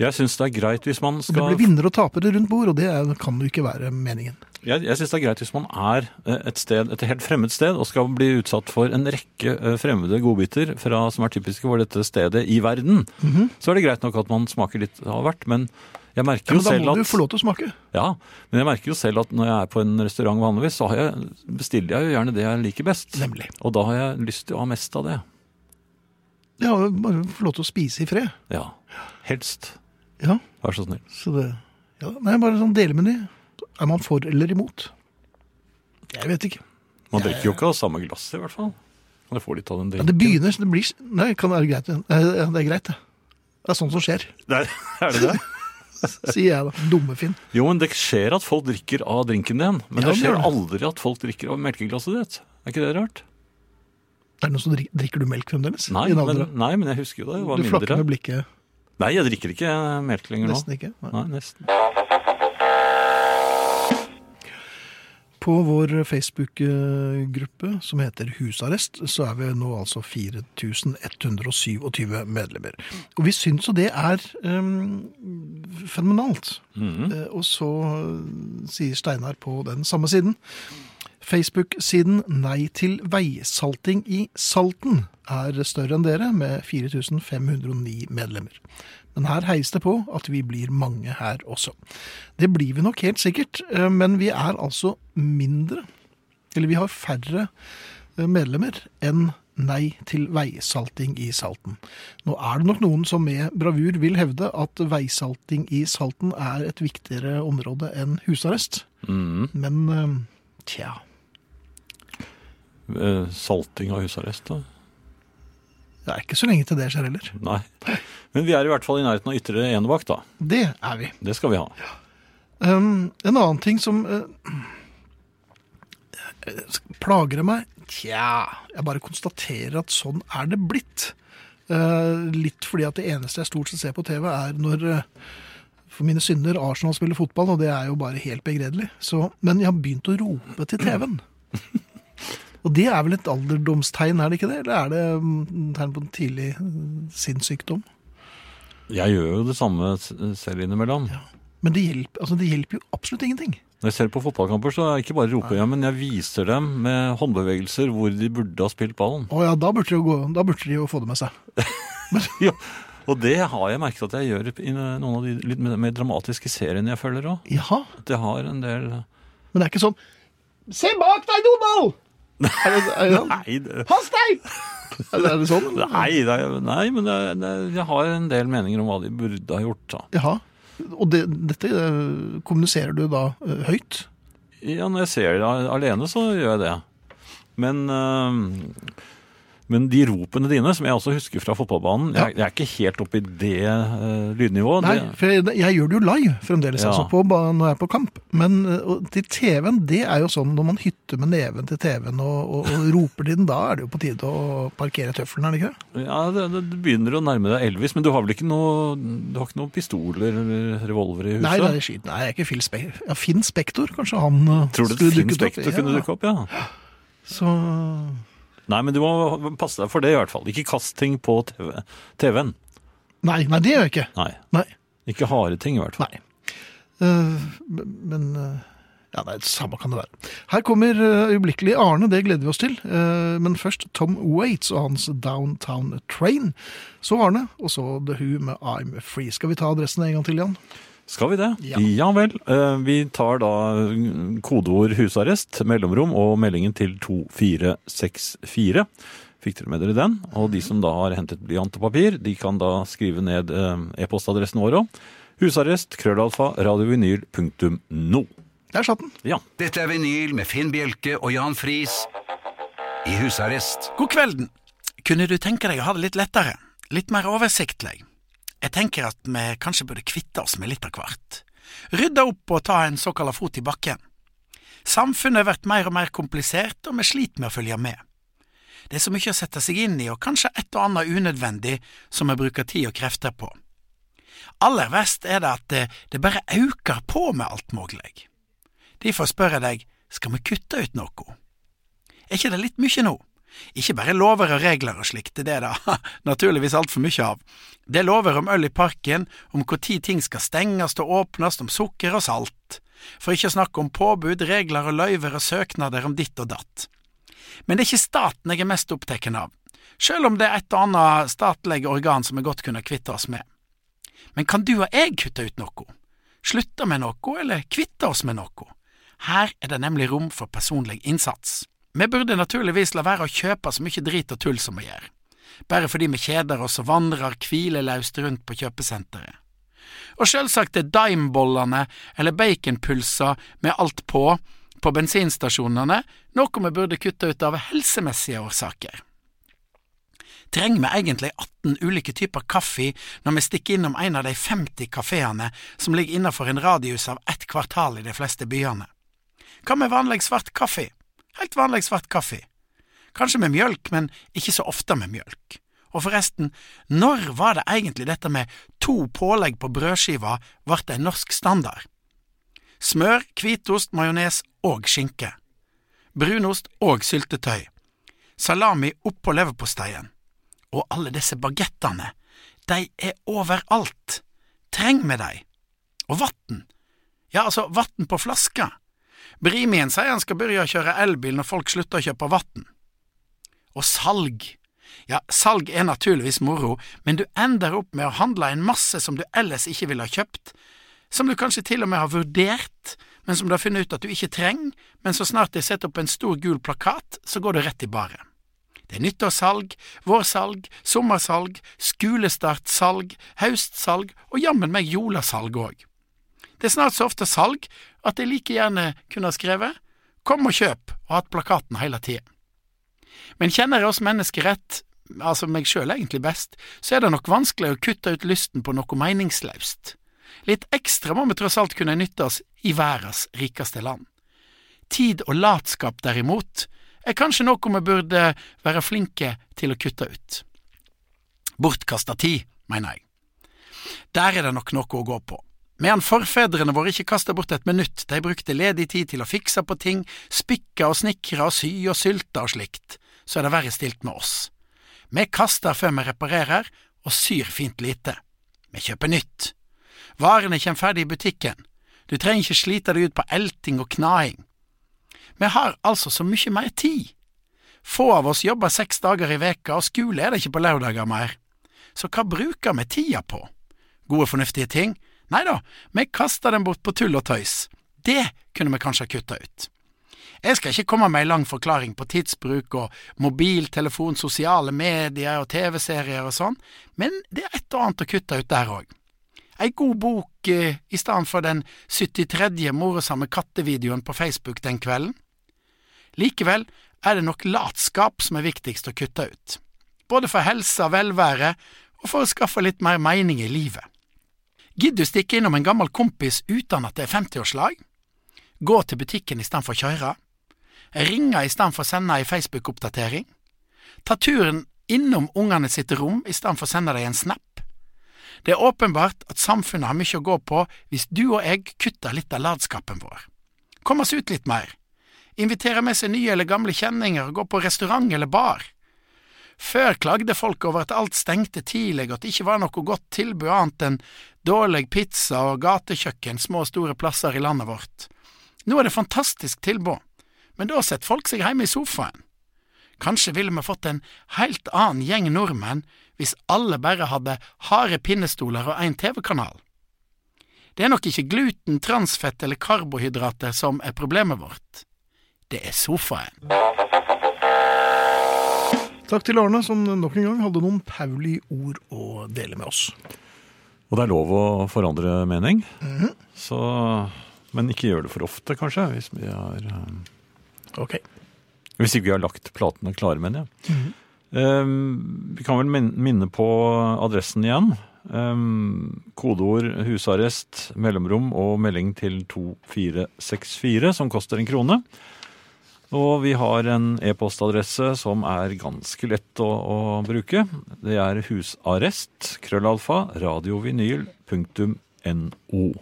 Speaker 3: Jeg syns det er greit hvis man
Speaker 2: Og det
Speaker 3: skal
Speaker 2: blir vinnere og tapere rundt bord, og det er, kan jo ikke være meningen.
Speaker 3: Jeg, jeg synes det er greit hvis man er eh, et sted, et helt fremmed sted og skal bli utsatt for en rekke eh, fremmede godbiter fra, som er typiske for dette stedet i verden.
Speaker 2: Mhm.
Speaker 3: Så er det greit nok at man smaker litt av hvert, men jeg merker
Speaker 2: Ja,
Speaker 3: jo
Speaker 2: men da
Speaker 3: selv
Speaker 2: må du
Speaker 3: at
Speaker 2: få lov til å smake.
Speaker 3: ja, men jeg merker jo selv at når jeg er på en restaurant vanligvis, så har jeg, bestiller jeg jo gjerne det jeg liker best.
Speaker 2: Nemlig.
Speaker 3: Og da har jeg lyst til å ha mest av det.
Speaker 2: Ja, bare få lov til å spise i fred.
Speaker 3: Ja. Helst.
Speaker 2: Ja,
Speaker 3: Vær så snill.
Speaker 2: så det ja, Nei, bare sånn delmeny. Er man for eller imot? Jeg vet ikke.
Speaker 3: Man drikker jo ikke av samme glass i hvert fall. Kan jeg få litt av den
Speaker 2: Ja,
Speaker 3: drinken?
Speaker 2: det begynner så det blir Nei, kan det være greit? Nei, ja, det er greit, det. Det er sånn som skjer,
Speaker 3: Der, er det det?
Speaker 2: sier jeg da. Dumme Finn.
Speaker 3: Jo, men det skjer at folk drikker av drinken din. Men
Speaker 2: Ja,
Speaker 3: det
Speaker 2: det
Speaker 3: skjer
Speaker 2: gjør det.
Speaker 3: aldri at folk drikker av melkeglasset ditt. Er ikke det rart?
Speaker 2: Er det noen som drikker, drikker du melk fremdeles?
Speaker 3: Nei,
Speaker 2: I en
Speaker 3: men,
Speaker 2: alder av-
Speaker 3: nei, men jeg husker jo det. Jeg var
Speaker 2: du flakker med
Speaker 3: mindre.
Speaker 2: blikket
Speaker 3: Nei, jeg drikker ikke eh, melk lenger nå.
Speaker 2: nesten ikke. Nei.
Speaker 3: Nei, nesten.
Speaker 2: På vår Facebook-gruppe som heter Husarrest, så er vi nå altså 4127 medlemmer. Og vi syns jo det er um, fenomenalt.
Speaker 3: Mhm.
Speaker 2: Eh, Og så eh, sier Steinar på den samme siden. Facebook-siden Nei til veisalting i Salten er større enn dere, med 4509 medlemmer. Men her heies det på at vi blir mange her også. Det blir vi nok helt sikkert, eh, men vi er altså mindre, eller vi har færre eh, medlemmer enn Nei til veisalting i Salten. Nå er det nok noen som med bravur vil hevde at veisalting i Salten er et viktigere område enn husarrest.
Speaker 3: Mhm.
Speaker 2: Men eh, tja
Speaker 3: Eh, Salting av husarrest, da?
Speaker 2: Det er ikke så lenge til det skjer heller.
Speaker 3: Nei. Men vi er i hvert fall i nærheten av ytre enebakk, da.
Speaker 2: Det er vi.
Speaker 3: Det skal vi ha.
Speaker 2: Um, en annen ting som eh, eh, plager det meg Tja, jeg bare konstaterer at sånn er det blitt. Eh, litt fordi at det eneste jeg stort sett ser på TV, er når eh, for mine synder Arsenal spiller fotball, og det er jo bare helt begredelig. Så, men jeg har begynt å rope til TV-en. Og det er vel et alderdomstegn, er det ikke det? Eller er det mm, tegn på en tidlig mm, sinnssykdom?
Speaker 3: Jeg gjør jo det samme s- selv innimellom.
Speaker 2: Men det hjelper, altså, det hjelper jo absolutt ingenting.
Speaker 3: Når jeg ser på fotballkamper, så er jeg ikke bare roper jeg, men jeg viser dem med håndbevegelser hvor de burde ha spilt ballen.
Speaker 2: Å ja, da burde, de jo gå, da burde de jo få det med seg.
Speaker 3: Ja, og det har jeg merket at jeg gjør i noen av de litt mer dramatiske seriene jeg følger òg.
Speaker 2: Jaha,
Speaker 3: At jeg har en del
Speaker 2: men det er ikke sånn Se bak deg, Donald! Er det, er det,
Speaker 3: Nei, det,
Speaker 2: Pass deg! Er det, er det sånn? eller?
Speaker 3: nei, det, er- nei men det, er- det, er- jeg har en del meninger om hva de burde ha gjort. Da.
Speaker 2: Jaha. Og det, dette eh, kommuniserer du da eh, høyt?
Speaker 3: Ja, når jeg ser det alene, så gjør jeg det. Men øhm, Men de ropene dine, som jeg også husker fra fotballbanen
Speaker 2: Ja.
Speaker 3: jeg, jeg er ikke helt oppe i det eh, lydnivået.
Speaker 2: Nei,
Speaker 3: Det,
Speaker 2: for jeg, jeg gjør det jo live fremdeles,
Speaker 3: Ja.
Speaker 2: altså på, ba- når jeg er på kamp. Men eh, og til TV-en, det er jo sånn når man hytter med neven til TV-en og, og, og roper til den, da er det jo på tide å parkere tøffelen, er det ikke det?
Speaker 3: ja, det, det, du begynner å nærme deg Elvis, men du har vel ikke noe, du har ikke noen pistoler eller revolver i huset?
Speaker 2: Nei, det er skit. Nei, jeg er ikke Phil Spek ja, Finn Spektor, kanskje han eh,
Speaker 3: Tror du
Speaker 2: skulle
Speaker 3: Finn
Speaker 2: dukket opp?
Speaker 3: Spektor kunne dukke opp? Ja.
Speaker 2: Ja, så
Speaker 3: Nei, men du må passe deg for det i hvert fall. Ikke kast ting på TV TV-en.
Speaker 2: Nei, nei, det gjør jeg ikke.
Speaker 3: Nei.
Speaker 2: Nei.
Speaker 3: Ikke harde ting, i hvert fall.
Speaker 2: Nei. Eh, men eh, Ja, nei, samme kan det være. Her kommer eh, øyeblikkelig Arne, det gleder vi oss til. Eh, men først Tom Waits og hans Downtown Train. Så Arne, og så The Who med I'm Free. Skal vi ta adressen en gang til, Jan?
Speaker 3: Skal vi det?
Speaker 2: Ja.
Speaker 3: vel. Eh, Vi tar da mm, kodeord husarrest, mellomrom og meldingen til 2464. Fikk dere med dere den? Og de som da har hentet blyant og papir, de kan da skrive ned eh, e-postadressen vår òg. Husarrest, krøllalfa, radiovinyl.no.
Speaker 2: Der satt den.
Speaker 3: Ja.
Speaker 1: Dette er vinyl med Finn Bjelke og Jan Friis i husarrest.
Speaker 5: God kvelden. Kunne du tenke deg å ha det litt lettere? Litt mer oversiktlig? Jeg tenker at vi kanskje burde kvitte oss med litt av hvert. Rydde opp og ta en såkalla fot i bakken. Samfunnet blir mer og mer komplisert, og vi sliter med å følge med. Det er så mye å sette seg inn i, og kanskje et og annet unødvendig som vi bruker tid og krefter på. Aller verst er det at det, det bare øker på med alt mulig. Derfor spør jeg deg, skal vi kutte ut noe? Er ikke det litt mye nå? Ikke bare lover og regler og slikt, det er det da naturligvis altfor mye av. Det er lover om øl i parken, om når ting skal stenges og åpnes, om sukker og salt. For ikke å snakke om påbud, regler og løyver og søknader om ditt og datt. Men det er ikke staten jeg er mest opptatt av, sjøl om det er et og annet statlig organ som vi godt kunne kvitte oss med. Men kan du og jeg kutte ut noe? Slutte med noe, eller kvitte oss med noe? Her er det nemlig rom for personlig innsats. Vi burde naturligvis la være å kjøpe så mye drit og tull som vi gjør, bare fordi vi kjeder oss og vandrer hvileløst rundt på kjøpesenteret. Og selvsagt er dimebollene eller baconpulser med alt på på bensinstasjonene noe vi burde kutte ut av helsemessige årsaker. Trenger vi egentlig 18 ulike typer kaffe når vi stikker innom en av de 50 kafeene som ligger innenfor en radius av ett kvartal i de fleste byene? Hva med vanlig svart kaffe? Helt vanlig svart kaffe. Kanskje med mjølk, men ikke så ofte med mjølk. Og forresten, når var det egentlig dette med to pålegg på brødskiva ble en norsk standard? Smør, hvitost, majones og skinke. Brunost og syltetøy. Salami oppå leverposteien. Og alle disse bagettene, de er overalt. Trenger vi de? Og vann. Ja, altså, vann på flaska. Brimien sier han skal begynne å kjøre elbil når folk slutter å kjøpe vann. Og salg. Ja, salg er naturligvis moro, men du ender opp med å handle en masse som du ellers ikke ville ha kjøpt, som du kanskje til og med har vurdert, men som du har funnet ut at du ikke trenger, men så snart de setter opp en stor gul plakat, så går du rett i baret. Det er nyttårssalg, vårsalg, sommersalg, skolestartsalg, høstsalg og jammen meg jolasalg òg. Det er snart så ofte salg at jeg like gjerne kunne ha skrevet Kom og kjøp, og hatt plakaten hele tida. Men kjenner jeg oss mennesker rett, altså meg sjøl egentlig best, så er det nok vanskelig å kutte ut lysten på noe meningsløst. Litt ekstra må vi tross alt kunne nytte oss i verdens rikeste land. Tid og latskap, derimot, er kanskje noe vi burde være flinke til å kutte ut. Bortkasta tid, mener jeg. Der er det nok noe å gå på. Medan forfedrene våre ikke kasta bort et minutt, de brukte ledig tid til å fikse på ting, spikke og snikre og sy og sylte og slikt, så er det verre stilt med oss. Vi kaster før vi reparerer, og syr fint lite. Vi kjøper nytt. Varene kommer ferdig i butikken. Du trenger ikke slite deg ut på elting og knaing. Vi har altså så mye mer tid. Få av oss jobber seks dager i veka, og skole er det ikke på lørdager mer. Så hva bruker vi tida på? Gode, fornuftige ting? Nei da, vi kaster den bort på tull og tøys. Det kunne vi kanskje ha kutta ut. Jeg skal ikke komme med ei lang forklaring på tidsbruk og mobiltelefon, sosiale medier og TV-serier og sånn, men det er et og annet å kutte ut der òg. Ei god bok eh, i stedet for den 73. morsomme kattevideoen på Facebook den kvelden. Likevel, er det nok latskap som er viktigst å kutte ut. Både for helsa, velvære og for å skaffe litt mer mening i livet. Gidd du stikke innom en gammel kompis uten at det er 50-årslag? Gå til butikken istedenfor å kjøre? Ringe istedenfor å sende ei Facebook-oppdatering? Ta turen innom ungene sitt rom istedenfor å sende dem en snap? Det er åpenbart at samfunnet har mye å gå på hvis du og jeg kutter litt av latskapen vår. Kom oss ut litt mer. Invitere med seg nye eller gamle kjenninger og gå på restaurant eller bar. Før klagde folk over at alt stengte tidlig og at det ikke var noe godt tilbud annet enn dårlig pizza og gatekjøkken små og store plasser i landet vårt. Nå er det fantastisk tilbud, men da setter folk seg hjemme i sofaen. Kanskje ville vi fått en helt annen gjeng nordmenn hvis alle bare hadde harde pinnestoler og én TV-kanal. Det er nok ikke gluten, transfett eller karbohydrater som er problemet vårt. Det er sofaen.
Speaker 2: Takk til Arne, som nok en gang hadde noen Pauli-ord å dele med oss.
Speaker 3: Og det er lov å forandre mening. Så, men ikke gjør det for ofte, kanskje. Hvis vi, er, eh,
Speaker 2: Ok.
Speaker 3: hvis ikke vi har lagt platene klare, mener jeg. Eh, vi kan vel min- minne på adressen igjen. Eh, kodeord husarrest, mellomrom og melding til 2464, som koster en krone. Og vi har en e-postadresse som er ganske lett å, å bruke. Det er husarrest, krøllalfa, radiovinyl, punktum no.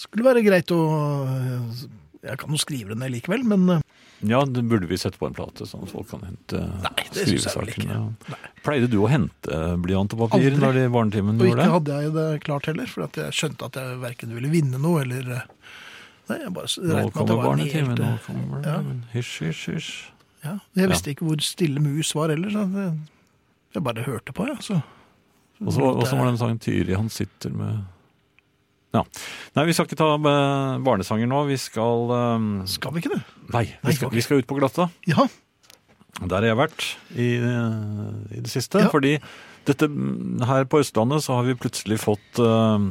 Speaker 2: Skulle være greit å eh, Jeg kan jo skrive det ned likevel, men eh,
Speaker 3: Ja, det burde vi sette på en plate, sånn at folk kan hente
Speaker 2: Nei, det synes jeg vel ikke.
Speaker 3: skrivesakene. Pleide du å hente eh, blyant og papir
Speaker 2: Aldri.
Speaker 3: når de barnetimen
Speaker 2: Og ikke
Speaker 3: gjorde det?
Speaker 2: hadde jeg det klart heller, for at jeg skjønte at jeg verken ville vinne noe eller eh, Nei, jeg bare s-
Speaker 3: Nå
Speaker 2: regnet med at det
Speaker 3: kommer
Speaker 2: var en
Speaker 3: barnetimen,
Speaker 2: helt
Speaker 3: nå
Speaker 2: eh,
Speaker 3: kommer
Speaker 2: ja.
Speaker 3: barnetimen. Hysj, hysj, hysj.
Speaker 2: ja. Jeg visste ikke hvor stille mus var heller, så det- jeg bare hørte på, ja, så Mm,
Speaker 3: Og så og så var det en sang Tyri, han sitter med ja. Nei, vi skal ikke ta eh, barnesanger nå. Vi skal eh,
Speaker 2: Skal vi ikke det?
Speaker 3: Nei,
Speaker 2: Nei,
Speaker 3: vi skal,
Speaker 2: ok.
Speaker 3: vi skal ut på glatta.
Speaker 2: Ja.
Speaker 3: Der har jeg vært i, eh, i det siste.
Speaker 2: Ja.
Speaker 3: Fordi dette, mm, her på Østlandet så har vi plutselig fått eh,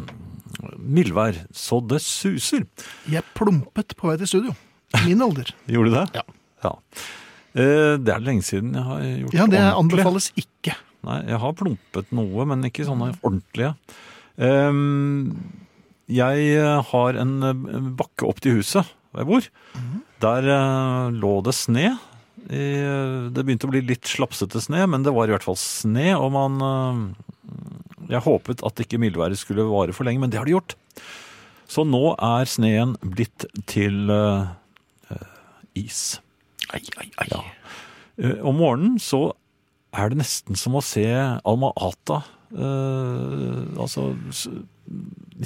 Speaker 3: mildvær, så det suser.
Speaker 2: Jeg plumpet på vei til studio. Min alder.
Speaker 3: Gjorde du det?
Speaker 2: Ja.
Speaker 3: Eh, Det er lenge siden jeg har gjort
Speaker 2: Ja, det
Speaker 3: ordentlig.
Speaker 2: anbefales ikke.
Speaker 3: Nei, jeg har plumpet noe, men ikke sånne ordentlige. Ehm, jeg har en eh, bakke opp til huset hvor jeg bor. Der eh, lå det sne. I, eh, det begynte å bli litt slapsete sne, men det var i hvert fall sne. Og man eh, Jeg håpet at ikke mildværet skulle vare for lenge, men det har det gjort. Så nå er sneen blitt til eh, eh, is.
Speaker 2: Ai, ai, ai.
Speaker 3: Ja. Eh, Om morgenen så er det nesten som å se Alma Ata. eh, altså s-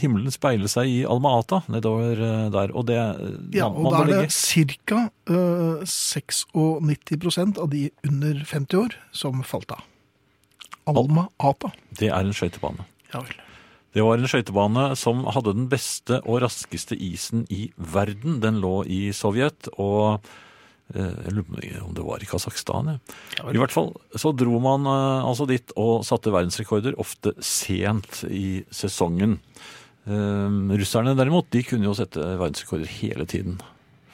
Speaker 3: himmelen speile seg i Alma Ata nedover eh, der. Og det eh,
Speaker 2: Ja,
Speaker 3: man-
Speaker 2: og
Speaker 3: man
Speaker 2: da
Speaker 3: må
Speaker 2: er
Speaker 3: legge-
Speaker 2: det ca. 96 av de under 50 år som falt av. Alma Ata.
Speaker 3: det er en skøytebane.
Speaker 2: Ja vel.
Speaker 3: Det var en skøytebane som hadde den beste og raskeste isen i verden. Den lå i Sovjet og eh, jeg lurer på om det var i Kasakhstan. jeg. I hvert fall så dro man eh, altså dit og satte verdensrekorder, ofte sent i sesongen. Eh, russerne derimot, de kunne jo sette verdensrekorder hele tiden.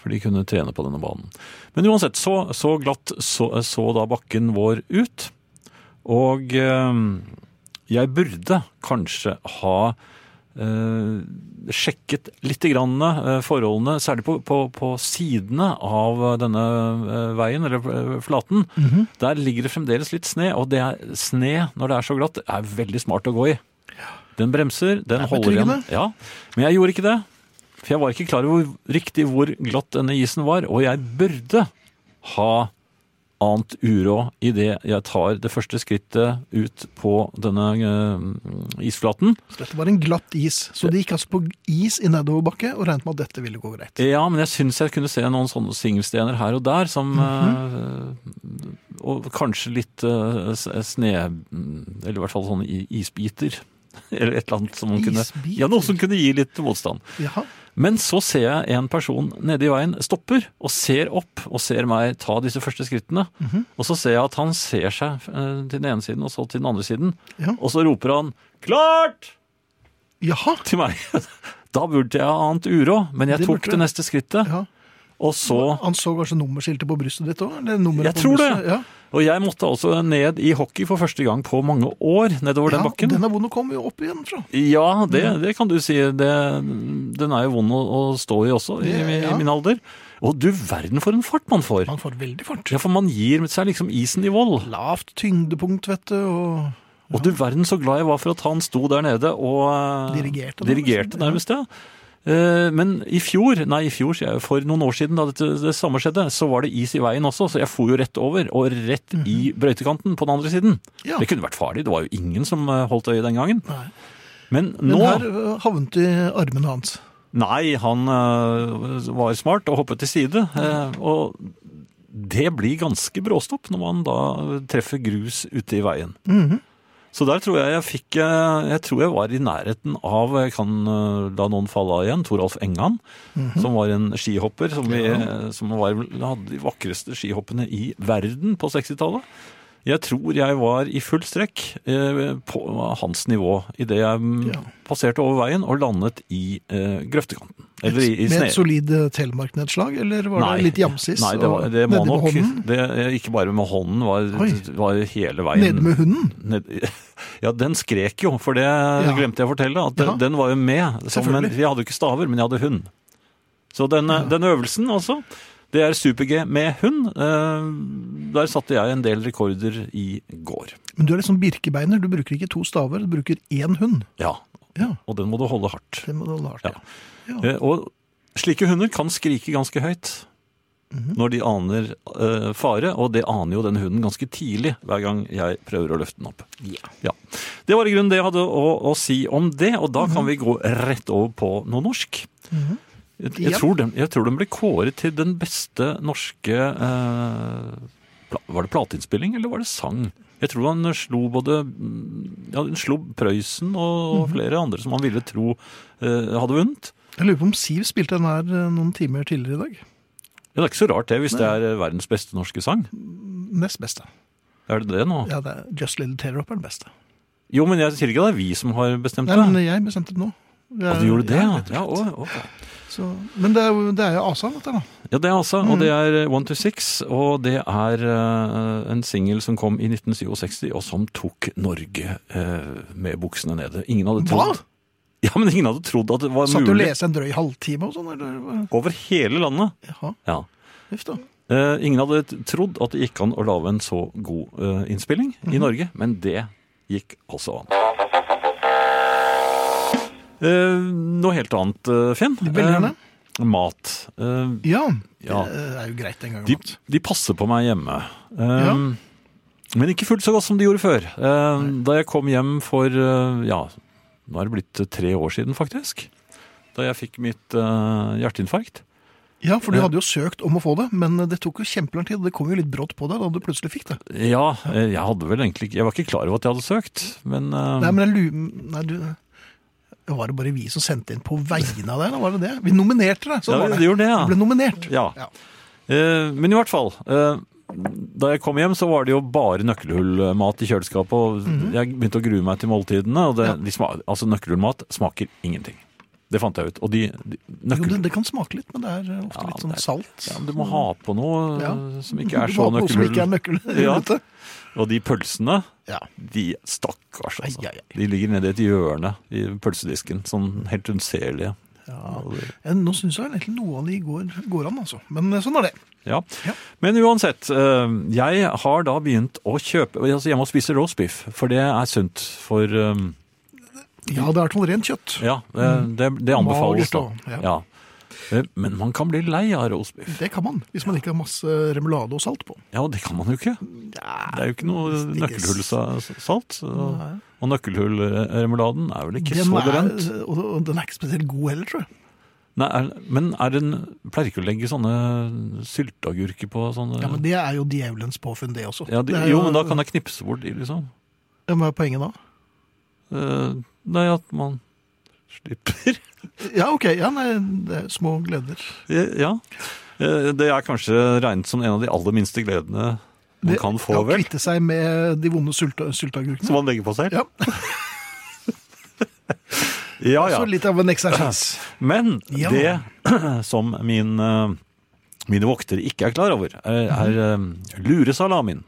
Speaker 3: For de kunne trene på denne banen. Men uansett, så, så glatt så, så da bakken vår ut. Og eh, jeg burde kanskje ha eh, sjekket litt grann, eh, forholdene, særlig på, på, på sidene av denne eh, veien, eller eh, flaten.
Speaker 2: Mm.
Speaker 3: Der ligger det fremdeles litt sne, og det er, sne når det er så glatt, er veldig smart å gå i. Den bremser, den
Speaker 2: er
Speaker 3: holder igjen.
Speaker 2: betryggende.
Speaker 3: Ja, men jeg gjorde ikke det. For jeg var ikke klar over riktig hvor glatt denne isen var, og jeg burde ha annet uråd idet jeg tar det første skrittet ut på denne eh, isflaten.
Speaker 2: Så dette var en glatt is. Så de gikk altså på is i nedoverbakke og regnet med at dette ville gå greit.
Speaker 3: Ja, men jeg syns jeg kunne se noen sånne singelstener her og der, som
Speaker 2: Mhm.
Speaker 3: eh, Og kanskje litt eh, s- sne... Eller i hvert fall sånne i- isbiter. Eller et eller annet som man kunne
Speaker 2: Isbiter?
Speaker 3: Ja, noe som kunne gi litt motstand.
Speaker 2: Jaha.
Speaker 3: Men så ser jeg en person nede i veien stopper og ser opp og ser meg ta disse første skrittene.
Speaker 2: Mhm.
Speaker 3: Og så ser jeg at han ser seg eh, til den ene siden og så til den andre siden.
Speaker 2: Ja.
Speaker 3: Og så roper han 'klart!'
Speaker 2: Jaha.
Speaker 3: til meg. Da burde jeg ha annet uråd, men jeg
Speaker 2: Det
Speaker 3: tok
Speaker 2: burde
Speaker 3: det
Speaker 2: du.
Speaker 3: neste skrittet.
Speaker 2: Ja.
Speaker 3: Og så
Speaker 2: Han så kanskje nummerskiltet på brystet ditt òg? Jeg
Speaker 3: Jeg tror det. Og jeg måtte altså ned i hockey for første gang på mange år nedover den bakken.
Speaker 2: Den er vond å komme opp igjen fra.
Speaker 3: Ja, det, det kan du si. Det, den er jo vond å, å stå i også, i, i,
Speaker 2: Ja.
Speaker 3: min alder. Og du verden for en fart man får!
Speaker 2: Man får veldig fart.
Speaker 3: Ja, for man gir seg liksom isen i vold.
Speaker 2: Lavt tyngdepunkt, vet du, og
Speaker 3: Og du verden så glad jeg var for at han sto der nede og eh,
Speaker 2: Dirigerte nærmest.
Speaker 3: dirigerte nærmest, ja. Eh, Men i fjor, nei i fjor, sier jeg, for noen år siden da dette, det samme skjedde, så var det is i veien også, så jeg for jo rett over, og rett
Speaker 2: Mhm.
Speaker 3: i brøytekanten på den andre siden.
Speaker 2: Ja.
Speaker 3: Det kunne vært farlig, det var jo ingen som eh, holdt øye den gangen.
Speaker 2: Nei.
Speaker 3: Men
Speaker 2: Men
Speaker 3: nå...
Speaker 2: her eh, havnet de i armene hans.
Speaker 3: Nei, han øh, var smart og hoppet til side. øh, og det blir ganske bråstopp når man da treffer grus ute i veien.
Speaker 2: Mhm,
Speaker 3: Så der tror jeg jeg fikk øh, Jeg tror jeg var i nærheten av Jeg kan øh, la noen falle av igjen. Toralf Engan,
Speaker 2: mhm.
Speaker 3: som var en skihopper som, vi, som var, hadde de vakreste skihoppene i verden på 60-tallet. Jeg tror jeg var i full strekk øh, på hans nivå idet jeg mm,
Speaker 2: Ja.
Speaker 3: passerte over veien og landet i eh, grøftekanten. Eller i, i
Speaker 2: Med
Speaker 3: sne...
Speaker 2: et solid eh, telemarknedslag, eller var det litt jamsis?
Speaker 3: Nei, det, var,
Speaker 2: og
Speaker 3: det
Speaker 2: nedi
Speaker 3: må
Speaker 2: med
Speaker 3: nok
Speaker 2: hånden?
Speaker 3: det, Ikke bare med hånden,
Speaker 2: Oi.
Speaker 3: var, var hele veien.
Speaker 2: Nede med hunden?
Speaker 3: Ned- ja, den skrek jo, for det glemte jeg å fortelle. At den,
Speaker 2: Ja.
Speaker 3: den var jo med. Som en,
Speaker 2: Selvfølgelig.
Speaker 3: jeg hadde jo ikke staver, men jeg hadde hund. Så den, den øvelsen, altså. Det er super-G med hund. Eh, Der satte jeg en del rekorder i går.
Speaker 2: Men du er liksom birkebeiner, du bruker ikke to staver, du bruker én hund.
Speaker 3: Ja,
Speaker 2: Ja,
Speaker 3: og den må du holde hardt.
Speaker 2: det må du holde hardt.
Speaker 3: Ja.
Speaker 2: Ja.
Speaker 3: Eh, Og slike hunder kan skrike ganske høyt
Speaker 2: Mhm.
Speaker 3: når de aner eh, fare, og det aner jo den hunden ganske tidlig hver gang jeg prøver å løfte den opp. Ja. Det var i grunnen det jeg hadde å, å si om det, og da
Speaker 2: Mhm.
Speaker 3: kan vi gå rett over på noe norsk. Jeg, jeg,
Speaker 2: Ja.
Speaker 3: tror den, jeg tror den ble kåret til den beste norske eh, pla, Var det plateinnspilling, eller var det sang? Jeg tror han slo både mm, ja, han slo Prøysen og,
Speaker 2: Mhm.
Speaker 3: og flere andre som han ville tro eh, hadde vunnet.
Speaker 2: Jeg lurer på om Siv spilte den her eh, noen timer tidligere i dag.
Speaker 3: Ja, det er ikke så rart det, hvis det er eh, verdens beste norske sang.
Speaker 2: Nest beste.
Speaker 3: Er det det nå?
Speaker 2: Ja, det er Just Little Tear-Up er den beste.
Speaker 3: Jo, men jeg sier ikke det er vi som har bestemt
Speaker 2: Nei,
Speaker 3: det.
Speaker 2: men jeg bestemte det nå. Det
Speaker 3: Å,
Speaker 2: er-
Speaker 3: du gjorde det, ja?
Speaker 2: rett og
Speaker 3: Ja,
Speaker 2: slett.
Speaker 3: å, ok.
Speaker 2: Så, men det er, jo- det er jo Asa, dette da.
Speaker 3: ja det er altså, og
Speaker 2: Mm.
Speaker 3: det er eh, One to Six, og det er eh, en singel som kom i 1967, og som tok Norge eh, med buksene nede. Ingen hadde
Speaker 2: Hva?
Speaker 3: trodd Ja, men ingen hadde trodd at det var
Speaker 2: Satt du og
Speaker 3: mulig.
Speaker 2: leste en drøy halvtime og sånn? eller?
Speaker 3: Over hele landet.
Speaker 2: Jaha,
Speaker 3: Ja.
Speaker 2: uff da.
Speaker 3: Eh, ingen hadde t- trodd at det gikk an å lage en så god eh, innspilling
Speaker 2: Mhm.
Speaker 3: i Norge, men det gikk altså an. Eh, noe helt annet, eh, Finn.
Speaker 2: Veldig gjerne.
Speaker 3: Eh, mat. Eh,
Speaker 2: Ja,
Speaker 3: Ja.
Speaker 2: det eh, er jo greit den gangen.
Speaker 3: de,
Speaker 2: altså.
Speaker 3: de passer på meg hjemme. Eh, Men ikke fullt så godt som de gjorde før. Eh, da jeg kom hjem for eh, ja, nå er det blitt tre år siden, faktisk. Da jeg fikk mitt eh, hjerteinfarkt.
Speaker 2: Ja, for du
Speaker 3: Ja.
Speaker 2: hadde jo søkt om å få det, men eh, det tok jo kjempelang tid. og Det kom jo litt brått på deg da du plutselig fikk det.
Speaker 3: Ja, eh, jeg hadde vel egentlig ikke Jeg var ikke klar over at jeg hadde søkt, men eh,
Speaker 2: Nei, men jeg lurer Nei, du Var det bare vi som sendte inn på vegne av deg, eller var det det? Vi nominerte deg, sånn
Speaker 3: Ja,
Speaker 2: var det.
Speaker 3: det gjorde det, ja.
Speaker 2: Du ble nominert.
Speaker 3: Ja.
Speaker 2: Ja.
Speaker 3: Eh, men i hvert fall. eh, da jeg kom hjem, så var det jo bare nøkkelhullmat i kjøleskapet. Og
Speaker 2: Mhm.
Speaker 3: jeg begynte å grue meg til måltidene. Og det, de sma, altså, nøkkelhullmat smaker ingenting. Det fant jeg ut. Og de, de
Speaker 2: Jo, det,
Speaker 3: nøkkelhull...
Speaker 2: det kan smake litt, men det er ofte
Speaker 3: Ja,
Speaker 2: litt sånn
Speaker 3: det er-
Speaker 2: salt.
Speaker 3: Ja, men du må ha på noe eh,
Speaker 2: Ja.
Speaker 3: som ikke er
Speaker 2: Du må
Speaker 3: så
Speaker 2: ha noe som
Speaker 3: nøkkelhull.
Speaker 2: ikke er nøkkel-
Speaker 3: Ja.
Speaker 2: ute.
Speaker 3: Og de pølsene,
Speaker 2: Ja.
Speaker 3: de Stakkars, altså.
Speaker 2: Ai, ai, ai.
Speaker 3: De ligger nede i et hjørne i pølsedisken. Sånn helt unnselige.
Speaker 2: Ja. Ja, Nå syns jeg egentlig noe av de går, går an, altså. Men eh, sånn er det.
Speaker 3: Ja.
Speaker 2: Ja.
Speaker 3: Men uansett, eh, jeg har da begynt å kjøpe altså Jeg må spise roast beef, for det er sunt for eh,
Speaker 2: Ja, det er i hvert fall rent kjøtt.
Speaker 3: Ja, eh, det, det anbefales, da.
Speaker 2: Magert, Mm. da.
Speaker 3: Ja. Eh, Men man kan bli lei av roast beef.
Speaker 2: Det kan man, hvis man ikke har masse remulade og salt på.
Speaker 3: Ja, og det kan man jo ikke. Det er jo ikke noe nøkkelhullsalt. Og og nøkkelhullremuladen er vel ikke
Speaker 2: Den
Speaker 3: så
Speaker 2: er-
Speaker 3: brent.
Speaker 2: og og den er ikke spesielt god heller, tror jeg.
Speaker 3: Nei, er, men er den, pleier ikke å legge sånne sylteagurker på sånne
Speaker 2: Ja, Men det er jo djevelens påfunn, det også.
Speaker 3: Ja, de,
Speaker 2: det er
Speaker 3: jo, men da kan jeg knipse bort de, liksom.
Speaker 2: Ja, Hva er poenget da?
Speaker 3: Eh, Nei, at man slipper
Speaker 2: Ja, ok. Ja, nei, det er små gleder.
Speaker 3: Ja. Eh, Det er kanskje regnet som en av de aller minste gledene man
Speaker 2: Det-
Speaker 3: kan
Speaker 2: ja,
Speaker 3: få, vel?
Speaker 2: Kvitte seg med de vonde sylte, sylteagurkene.
Speaker 3: Som man legger på seg?
Speaker 2: Ja.
Speaker 3: ja.
Speaker 2: Så litt av en eksersis.
Speaker 3: Men
Speaker 2: Ja.
Speaker 3: det som min eh, mine voktere ikke er klar over, er, er
Speaker 2: Mhm.
Speaker 3: um, luresalamin.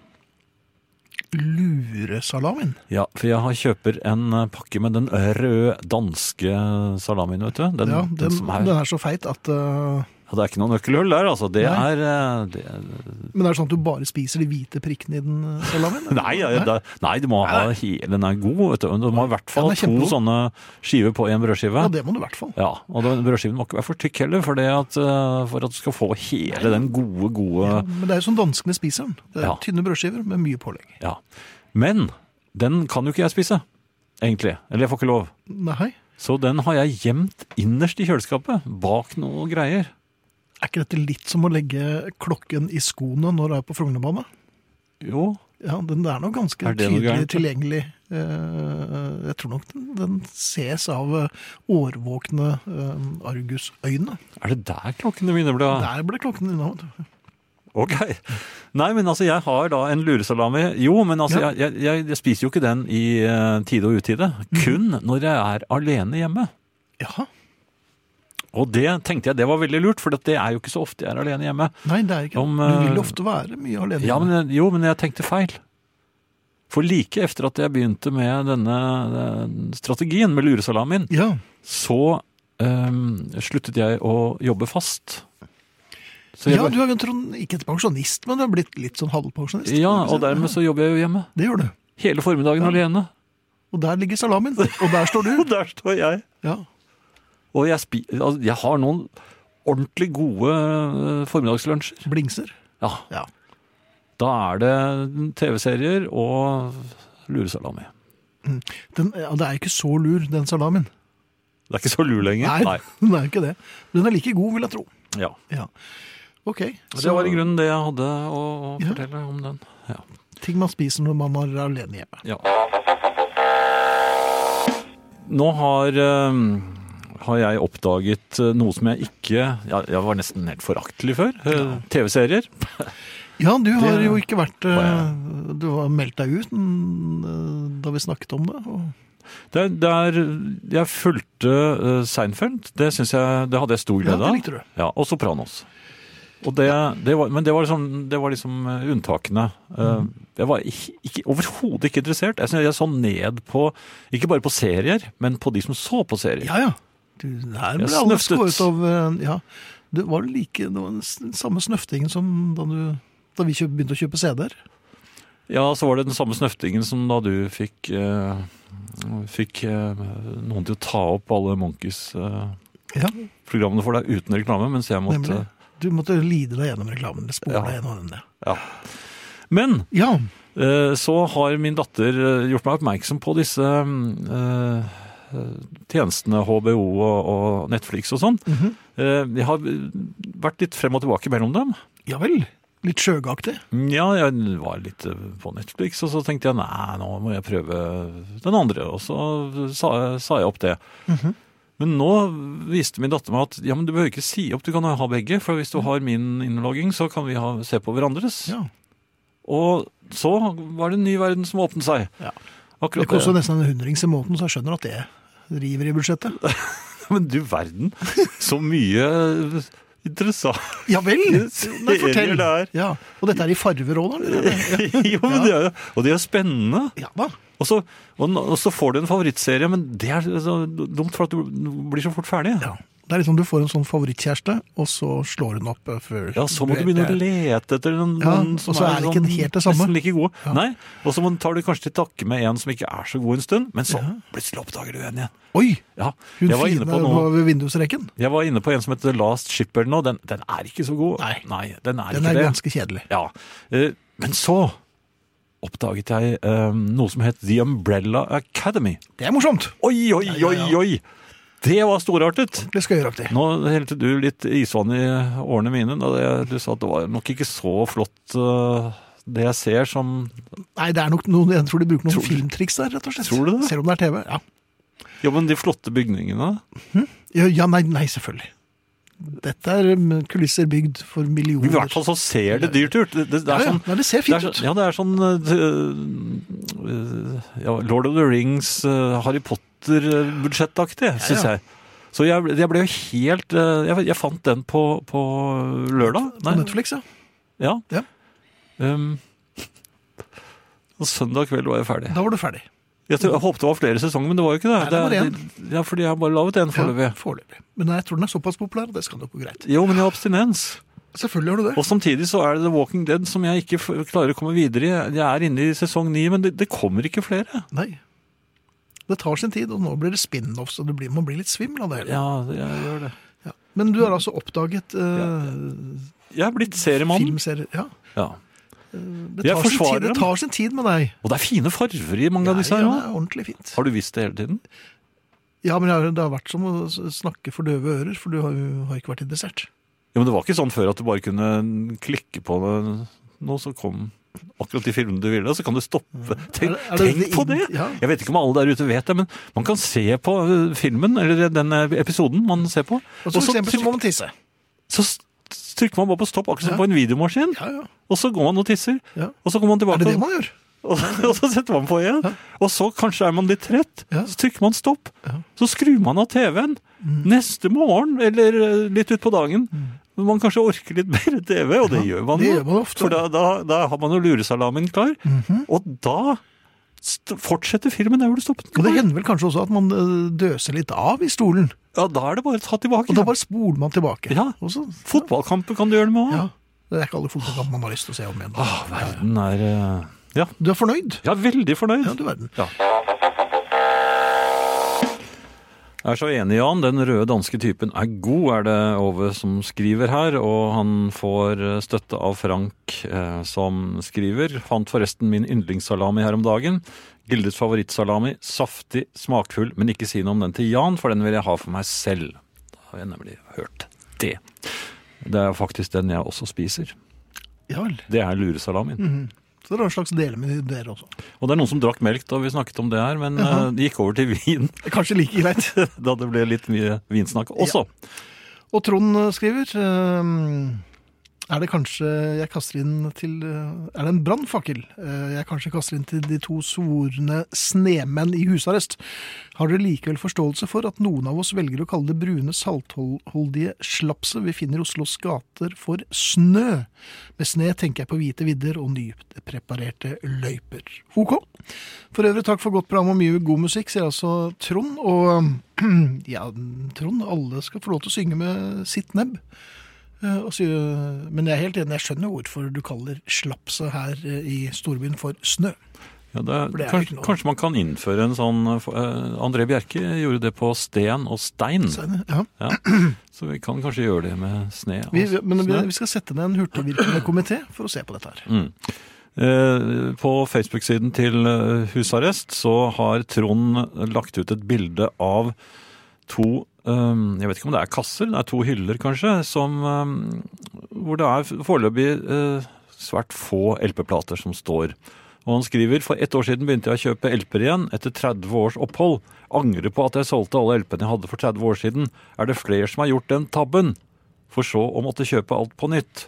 Speaker 2: Luresalamin.
Speaker 3: Ja, for jeg har kjøper en eh, pakke med den røde danske salamien, vet du. Den,
Speaker 2: ja,
Speaker 3: den,
Speaker 2: den,
Speaker 3: som
Speaker 2: den,
Speaker 3: er,
Speaker 2: er så feit at eh,
Speaker 3: ja, det er ikke noe nøkkelhull der, altså. Det
Speaker 2: Nei.
Speaker 3: er, eh, det er
Speaker 2: Men er det sånn at du bare spiser de hvite prikkene i den eh, salamien? eller?
Speaker 3: Nei, ja, ja, det, nei du må ha hele, den er god, vet du. Du må ha i hvert fall
Speaker 2: Ja, den er
Speaker 3: to
Speaker 2: kjempegod.
Speaker 3: sånne skiver på en brødskive.
Speaker 2: Ja, det må du i hvert fall.
Speaker 3: Ja, og den brødskiven må ikke være for tykk heller, for, det at, eh, for at du skal få hele den gode, gode
Speaker 2: Ja, men det er jo sånn danskene spiser den. Det er
Speaker 3: Ja.
Speaker 2: Tynne brødskiver med mye pålegg.
Speaker 3: ja. Men den kan jo ikke jeg spise, egentlig. Eller jeg får ikke lov.
Speaker 2: Nei,
Speaker 3: Så den har jeg gjemt innerst i kjøleskapet, bak noe greier.
Speaker 2: er ikke dette litt som å legge klokken i skoene når du er på Frognerbanen?
Speaker 3: Jo,
Speaker 2: Ja, den er nok ganske
Speaker 3: Er det noe
Speaker 2: tydelig
Speaker 3: gærent?
Speaker 2: tilgjengelig. Eh, Jeg tror nok den, den ses av eh, årvåkne eh, argusøyne.
Speaker 3: er det der klokkene mine ble av?
Speaker 2: Der ble klokken unna. vet du.
Speaker 3: Ok. Nei, men altså, jeg har da en luresalami. Jo, men altså,
Speaker 2: Ja.
Speaker 3: jeg, jeg, jeg spiser jo ikke den i eh, tide og utide. Kun når jeg er alene hjemme.
Speaker 2: Jaha.
Speaker 3: Og det tenkte jeg det var veldig lurt, for det er jo ikke så ofte jeg er alene hjemme.
Speaker 2: Nei, det er ikke
Speaker 3: Om,
Speaker 2: det. Du vil
Speaker 3: eh,
Speaker 2: ofte være mye alene.
Speaker 3: Ja, men, jeg- jo, men jeg tenkte feil. For like efter at jeg begynte med denne eh, strategien med luresalamin,
Speaker 2: ja.
Speaker 3: så eh, sluttet jeg å jobbe fast. Så jeg
Speaker 2: ja,
Speaker 3: bare-
Speaker 2: du er jo en tron- ikke et pensjonist, men du er blitt litt sånn halvpensjonist.
Speaker 3: ja, og dermed så jobber jeg jo hjemme.
Speaker 2: Det gjør du.
Speaker 3: Hele formiddagen alene.
Speaker 2: Og der ligger salamen, og der står
Speaker 3: Og
Speaker 2: du.
Speaker 3: der står jeg.
Speaker 2: Ja.
Speaker 3: Og jeg, spi altså, jeg har noen ordentlig gode eh, formiddagslunsjer.
Speaker 2: Blingser.
Speaker 3: Ja,
Speaker 2: Ja.
Speaker 3: da er det TV-serier og luresalami.
Speaker 2: Den, ja, det er ikke så lur, den salamen.
Speaker 3: Det er ikke så lur lenger.
Speaker 2: den er jo ikke det. Men den er like god, vil jeg tro.
Speaker 3: Ja.
Speaker 2: Ja. Ok,
Speaker 3: Og Det
Speaker 2: så
Speaker 3: var i grunnen det jeg hadde å å
Speaker 2: Ja.
Speaker 3: fortelle om den. Ja.
Speaker 2: ting man spiser når man er alene hjemme.
Speaker 3: Nå har, eh, har jeg oppdaget eh, noe som jeg ikke Jeg, jeg var nesten helt foraktelig før. eh, TV-serier.
Speaker 2: Ja, du har jo ikke vært
Speaker 3: var
Speaker 2: eh, Du har meldt deg ut mm, eh, da vi snakket om det. Og,
Speaker 3: Det, er- det er- jeg fulgte eh, Seinfeld. Det, synes jeg, det hadde jeg stor
Speaker 2: ja,
Speaker 3: glede
Speaker 2: det
Speaker 3: av.
Speaker 2: likte du.
Speaker 3: Ja, og Sopranos. Og det, det var, men det var liksom, det var liksom eh, unntakene. Eh, Jeg var ikke, ikke, overhodet ikke interessert. Jeg, synes jeg så ned på, ikke bare på serier, men på de som så på serier.
Speaker 2: Ja, ja. Du, der
Speaker 3: Jeg
Speaker 2: ble alle
Speaker 3: snøftet.
Speaker 2: skåret av eh, Ja. Det var jo like, det var den s- samme snøftingen som da, du, da vi kjøp, begynte å kjøpe CD-er.
Speaker 3: Ja, så var det den samme snøftingen som da du fikk, eh, fikk eh, noen til å ta opp alle Monkeys-programmene
Speaker 2: Ja,
Speaker 3: for deg uten reklame, mens jeg måtte
Speaker 2: nemlig. Du måtte lide deg gjennom reklamen. eller Spore
Speaker 3: Ja.
Speaker 2: deg gjennom den. ja.
Speaker 3: Men
Speaker 2: Ja,
Speaker 3: Eh, så har min datter eh, gjort meg oppmerksom på disse mm, eh, tjenestene HBO og, og Netflix og sånn.
Speaker 2: mhm.
Speaker 3: Eh, Jeg har eh, vært litt frem og tilbake mellom dem.
Speaker 2: ja vel. Litt sjøgaktig.
Speaker 3: Ja, jeg var litt eh, på Netflix, og så tenkte jeg nei, nå må jeg prøve den andre. Og så sa, sa jeg opp det. Men nå viste min datter meg at ja, men du behøver ikke si opp, du kan ha begge. For hvis du har min innlogging, så kan vi ha, se på hverandres.
Speaker 2: Ja.
Speaker 3: Og så var det en ny verden som åpnet seg.
Speaker 2: Ja. Det
Speaker 3: Akkurat
Speaker 2: koster
Speaker 3: det.
Speaker 2: nesten en hundrings i måneden, så jeg skjønner at det river i budsjettet.
Speaker 3: Men du verden, så mye interessant
Speaker 2: Ja vel! Nei, fortell!
Speaker 3: serier det er.
Speaker 2: Ja. Og dette er i farver òg, da?
Speaker 3: Jo, men det er, jo- og det er spennende.
Speaker 2: Ja da.
Speaker 3: Og så, og, nå- og så får du en favorittserie, men det er så dumt for at du blir så fort ferdig.
Speaker 2: Ja. Det er liksom du får en sånn favorittkjæreste, og så slår hun opp eh, før
Speaker 3: Ja, så må du begynne å lete etter noen,
Speaker 2: Ja,
Speaker 3: noen som
Speaker 2: og så er det ikke
Speaker 3: sånn
Speaker 2: helt det samme.
Speaker 3: nesten like gode.
Speaker 2: Ja.
Speaker 3: Nei, og så må- tar du kanskje til takke med en som ikke er så god en stund, men så plutselig oppdager du en igjen.
Speaker 2: Oi!
Speaker 3: Ja,
Speaker 2: Hun
Speaker 3: jeg var inne
Speaker 2: fine
Speaker 3: på
Speaker 2: var
Speaker 3: noe.
Speaker 2: ved vindusrekken.
Speaker 3: Jeg var inne på en som heter The Last Ship eller noe. Den, den er ikke så god.
Speaker 2: Nei.
Speaker 3: den er
Speaker 2: Den
Speaker 3: ikke
Speaker 2: er
Speaker 3: det.
Speaker 2: ganske kjedelig.
Speaker 3: Ja. Eh, Men så oppdaget jeg eh, noe som het The Umbrella Academy.
Speaker 2: Det er morsomt.
Speaker 3: Oi, oi,
Speaker 2: Ja, ja, ja.
Speaker 3: oi, oi! Det var storartet!
Speaker 2: Det skal gjøre aktig.
Speaker 3: Nå helte du litt isvann i årene mine. Da jeg- du sa at det var nok ikke så flott eh, det jeg ser som
Speaker 2: Nei, det er nok noen, jeg tror de bruker noen
Speaker 3: Tror du-
Speaker 2: filmtriks der, rett og slett.
Speaker 3: Tror du det?
Speaker 2: Selv om det er TV. Ja,
Speaker 3: Ja, men de flotte bygningene.
Speaker 2: ja, ja nei, nei, selvfølgelig. Dette er mm, kulisser bygd for
Speaker 3: I
Speaker 2: millioner.
Speaker 3: hvert fall så ser det dyrt ut. Det, det, det
Speaker 2: Ja,
Speaker 3: er
Speaker 2: ja.
Speaker 3: sånn
Speaker 2: Nei, det ser
Speaker 3: Det
Speaker 2: fint
Speaker 3: er, så-
Speaker 2: ut.
Speaker 3: ja, det er sånn eh, eh, ja, Lord of the Rings, eh, Harry Potter-budsjettaktig, eh, synes syns
Speaker 2: ja.
Speaker 3: jeg. Så jeg, ble- jeg ble jo helt eh, Jeg, jeg fant den på, på lørdag.
Speaker 2: På Netflix, ja.
Speaker 3: Ja.
Speaker 2: Ja.
Speaker 3: Um, og søndag kveld var jeg ferdig.
Speaker 2: Da var du ferdig.
Speaker 3: Jeg, tror, jeg håpet det var flere sesonger, men det var jo ikke det.
Speaker 2: Nei, det var
Speaker 3: er- ja, fordi jeg har bare laget én foreløpig.
Speaker 2: Ja, foreløpig. Men jeg tror den er såpass populær, det skal nok gå greit.
Speaker 3: Jo, men jeg har abstinens.
Speaker 2: Selvfølgelig har du det.
Speaker 3: Og samtidig så er det The Walking Dead som jeg ikke f- klarer å komme videre i. Jeg er inne i sesong ni, men det, det kommer ikke flere.
Speaker 2: Nei. Det tar sin tid, og nå blir det spin-offs, og det blir, man blir litt svimmel av det hele.
Speaker 3: Ja, jeg gjør det.
Speaker 2: Ja. Men du har altså oppdaget uh,
Speaker 3: Jeg er blitt seriemann.
Speaker 2: filmserier Ja.
Speaker 3: Ja.
Speaker 2: Det
Speaker 3: Jeg
Speaker 2: tar, sin
Speaker 3: forsvarer
Speaker 2: tid, det
Speaker 3: dem.
Speaker 2: tar sin tid med deg.
Speaker 3: Og det er fine farver i mange
Speaker 2: Ja,
Speaker 3: av
Speaker 2: ja,
Speaker 3: disse
Speaker 2: det
Speaker 3: her
Speaker 2: er
Speaker 3: òg.
Speaker 2: ordentlig fint.
Speaker 3: Har du visst det hele tiden?
Speaker 2: Ja, men det har- det har vært som å s- snakke for døve ører, for du har jo har ikke vært interessert.
Speaker 3: Ja, men det var ikke sånn før at du bare kunne klikke på det- noe som kom akkurat de filmene du ville, og så kan du stoppe. Tenk,
Speaker 2: Er det- er det
Speaker 3: tenk på
Speaker 2: inn-
Speaker 3: det!
Speaker 2: ja.
Speaker 3: Jeg vet ikke om alle der ute vet det, men man kan se på eh, filmen, eller den eh, episoden man ser på,
Speaker 2: Og så Altså, for
Speaker 3: så,
Speaker 2: eksempel så må man tisse.
Speaker 3: så s- trykker man bare på stopp, akkurat som
Speaker 2: Ja.
Speaker 3: på en videomaskin,
Speaker 2: Ja, ja.
Speaker 3: og så går man og tisser.
Speaker 2: Ja.
Speaker 3: Og så kommer man
Speaker 2: Er
Speaker 3: tilbake,
Speaker 2: det det man gjør?
Speaker 3: og, og så setter man på igjen.
Speaker 2: Ja.
Speaker 3: Og så kanskje er man litt trett,
Speaker 2: Ja.
Speaker 3: så trykker man stopp.
Speaker 2: Ja. Mm.
Speaker 3: Så skrur man av TV-en. Neste morgen, eller eh, litt utpå dagen, man kanskje orker litt mer TV, og det gjør man
Speaker 2: det
Speaker 3: jo.
Speaker 2: gjør man ofte. Mhm.
Speaker 3: For da, da, da har man jo luresalamen klar. Og da st fortsetter filmen der hvor du stoppet
Speaker 2: Og det
Speaker 3: den.
Speaker 2: hender vel kanskje også at man eh, døser litt av i stolen,
Speaker 3: Ja, da er det bare å ta tilbake.
Speaker 2: og da bare spoler man tilbake.
Speaker 3: Ja.
Speaker 2: Og så,
Speaker 3: Fotballkamper kan du gjøre det med òg.
Speaker 2: ja. Det er ikke alle fotballkamper man har lyst til å se om igjen.
Speaker 3: Ah, verden er eh, Ja,
Speaker 2: Du er fornøyd?
Speaker 3: jeg er veldig fornøyd.
Speaker 2: Ja, du verden.
Speaker 3: Jeg er så enig, Jan. Den røde danske typen er god, er det Ove som skriver her. Og han får eh, støtte av Frank, eh, som skriver. Fant forresten min yndlingssalami her om dagen. Gildes favorittsalami. Saftig, smakfull, men ikke si noe om den til Jan, for den vil jeg ha for meg selv. Da har jeg nemlig hørt det. Det er faktisk den jeg også spiser.
Speaker 2: Ja vel.
Speaker 3: Det er luresalamin.
Speaker 2: Så det er en slags delemeny der også.
Speaker 3: Og det er noen som drakk melk da vi snakket om det her, men eh, det gikk over til vin
Speaker 2: Kanskje like greit.
Speaker 3: da det ble litt mye vinsnakk også.
Speaker 2: Og Trond eh, skriver ehm, Er det kanskje jeg kaster inn til eh, Er det en brannfakkel eh, jeg kanskje kaster inn til de to svorne snemenn i husarrest? Har dere likevel forståelse for at noen av oss velger å kalle det brune saltholdige slapset vi finner i Oslos gater for snø? Med sne tenker jeg på hvite vidder og nypreparerte løyper. OK. For øvrig, takk for godt program og mye god musikk, sier altså Trond. Og ja, Trond, alle skal få lov til å synge med sitt nebb. Eh, Og sy- men jeg er helt enig, jeg skjønner hvorfor du kaller slapset her eh, i storbyen for snø.
Speaker 3: Ja, det, er-
Speaker 2: For det er ikke
Speaker 3: kanskje,
Speaker 2: noe.
Speaker 3: kanskje man kan innføre en sånn eh, for- eh, André Bjerke gjorde det på sten og stein.
Speaker 2: Så, ja.
Speaker 3: Ja. Så vi kan kanskje gjøre det med sne. Og
Speaker 2: vi, vi- men vi,
Speaker 3: snø.
Speaker 2: vi skal sette ned en hurtigvirkende komité for å se på dette her.
Speaker 3: Eh, På Facebook-siden til eh, Husarrest så har Trond lagt ut et bilde av to eh, Jeg vet ikke om det er kasser, det er to hyller kanskje, som, eh, hvor det er foreløpig eh, svært få LP-plater som står. Og han skriver for ett år siden begynte jeg å kjøpe LP-er igjen etter 30 års opphold. Angrer på at jeg solgte alle LP-ene jeg hadde for 30 år siden. Er det flere som har gjort den tabben? For så å måtte kjøpe alt på nytt.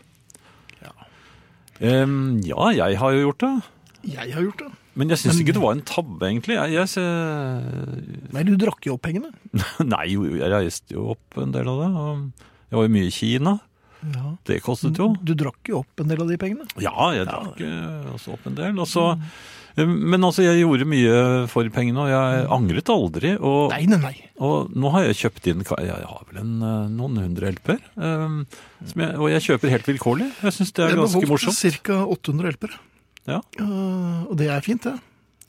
Speaker 3: Em, ja, jeg har jo gjort det.
Speaker 2: Jeg har gjort det.
Speaker 3: Men jeg syns ikke det var en tabbe, egentlig. Jeg, jeg, ser-
Speaker 2: Nei, du drakk jo opp pengene.
Speaker 3: nei, jo, jeg reiste jo opp en del av det. og Jeg var jo mye i Kina.
Speaker 2: Ja.
Speaker 3: Det kostet jo.
Speaker 2: Du drakk jo opp en del av de pengene.
Speaker 3: Mm. Ja, jeg drakk eh, også opp en del. Og så, men altså, jeg gjorde mye for pengene, og jeg angret aldri. Og,
Speaker 2: Nei, nei, nei.
Speaker 3: og nå har jeg kjøpt inn ka- Jeg har vel en, eh, noen hundre LP-er. em, som jeg- og jeg kjøper helt vilkårlig. Jeg syns det er
Speaker 2: Jeg
Speaker 3: ganske
Speaker 2: beholdt
Speaker 3: morsomt.
Speaker 2: Ca. 800 hjelpere.
Speaker 3: Ja.
Speaker 2: Eh, og det er fint, det.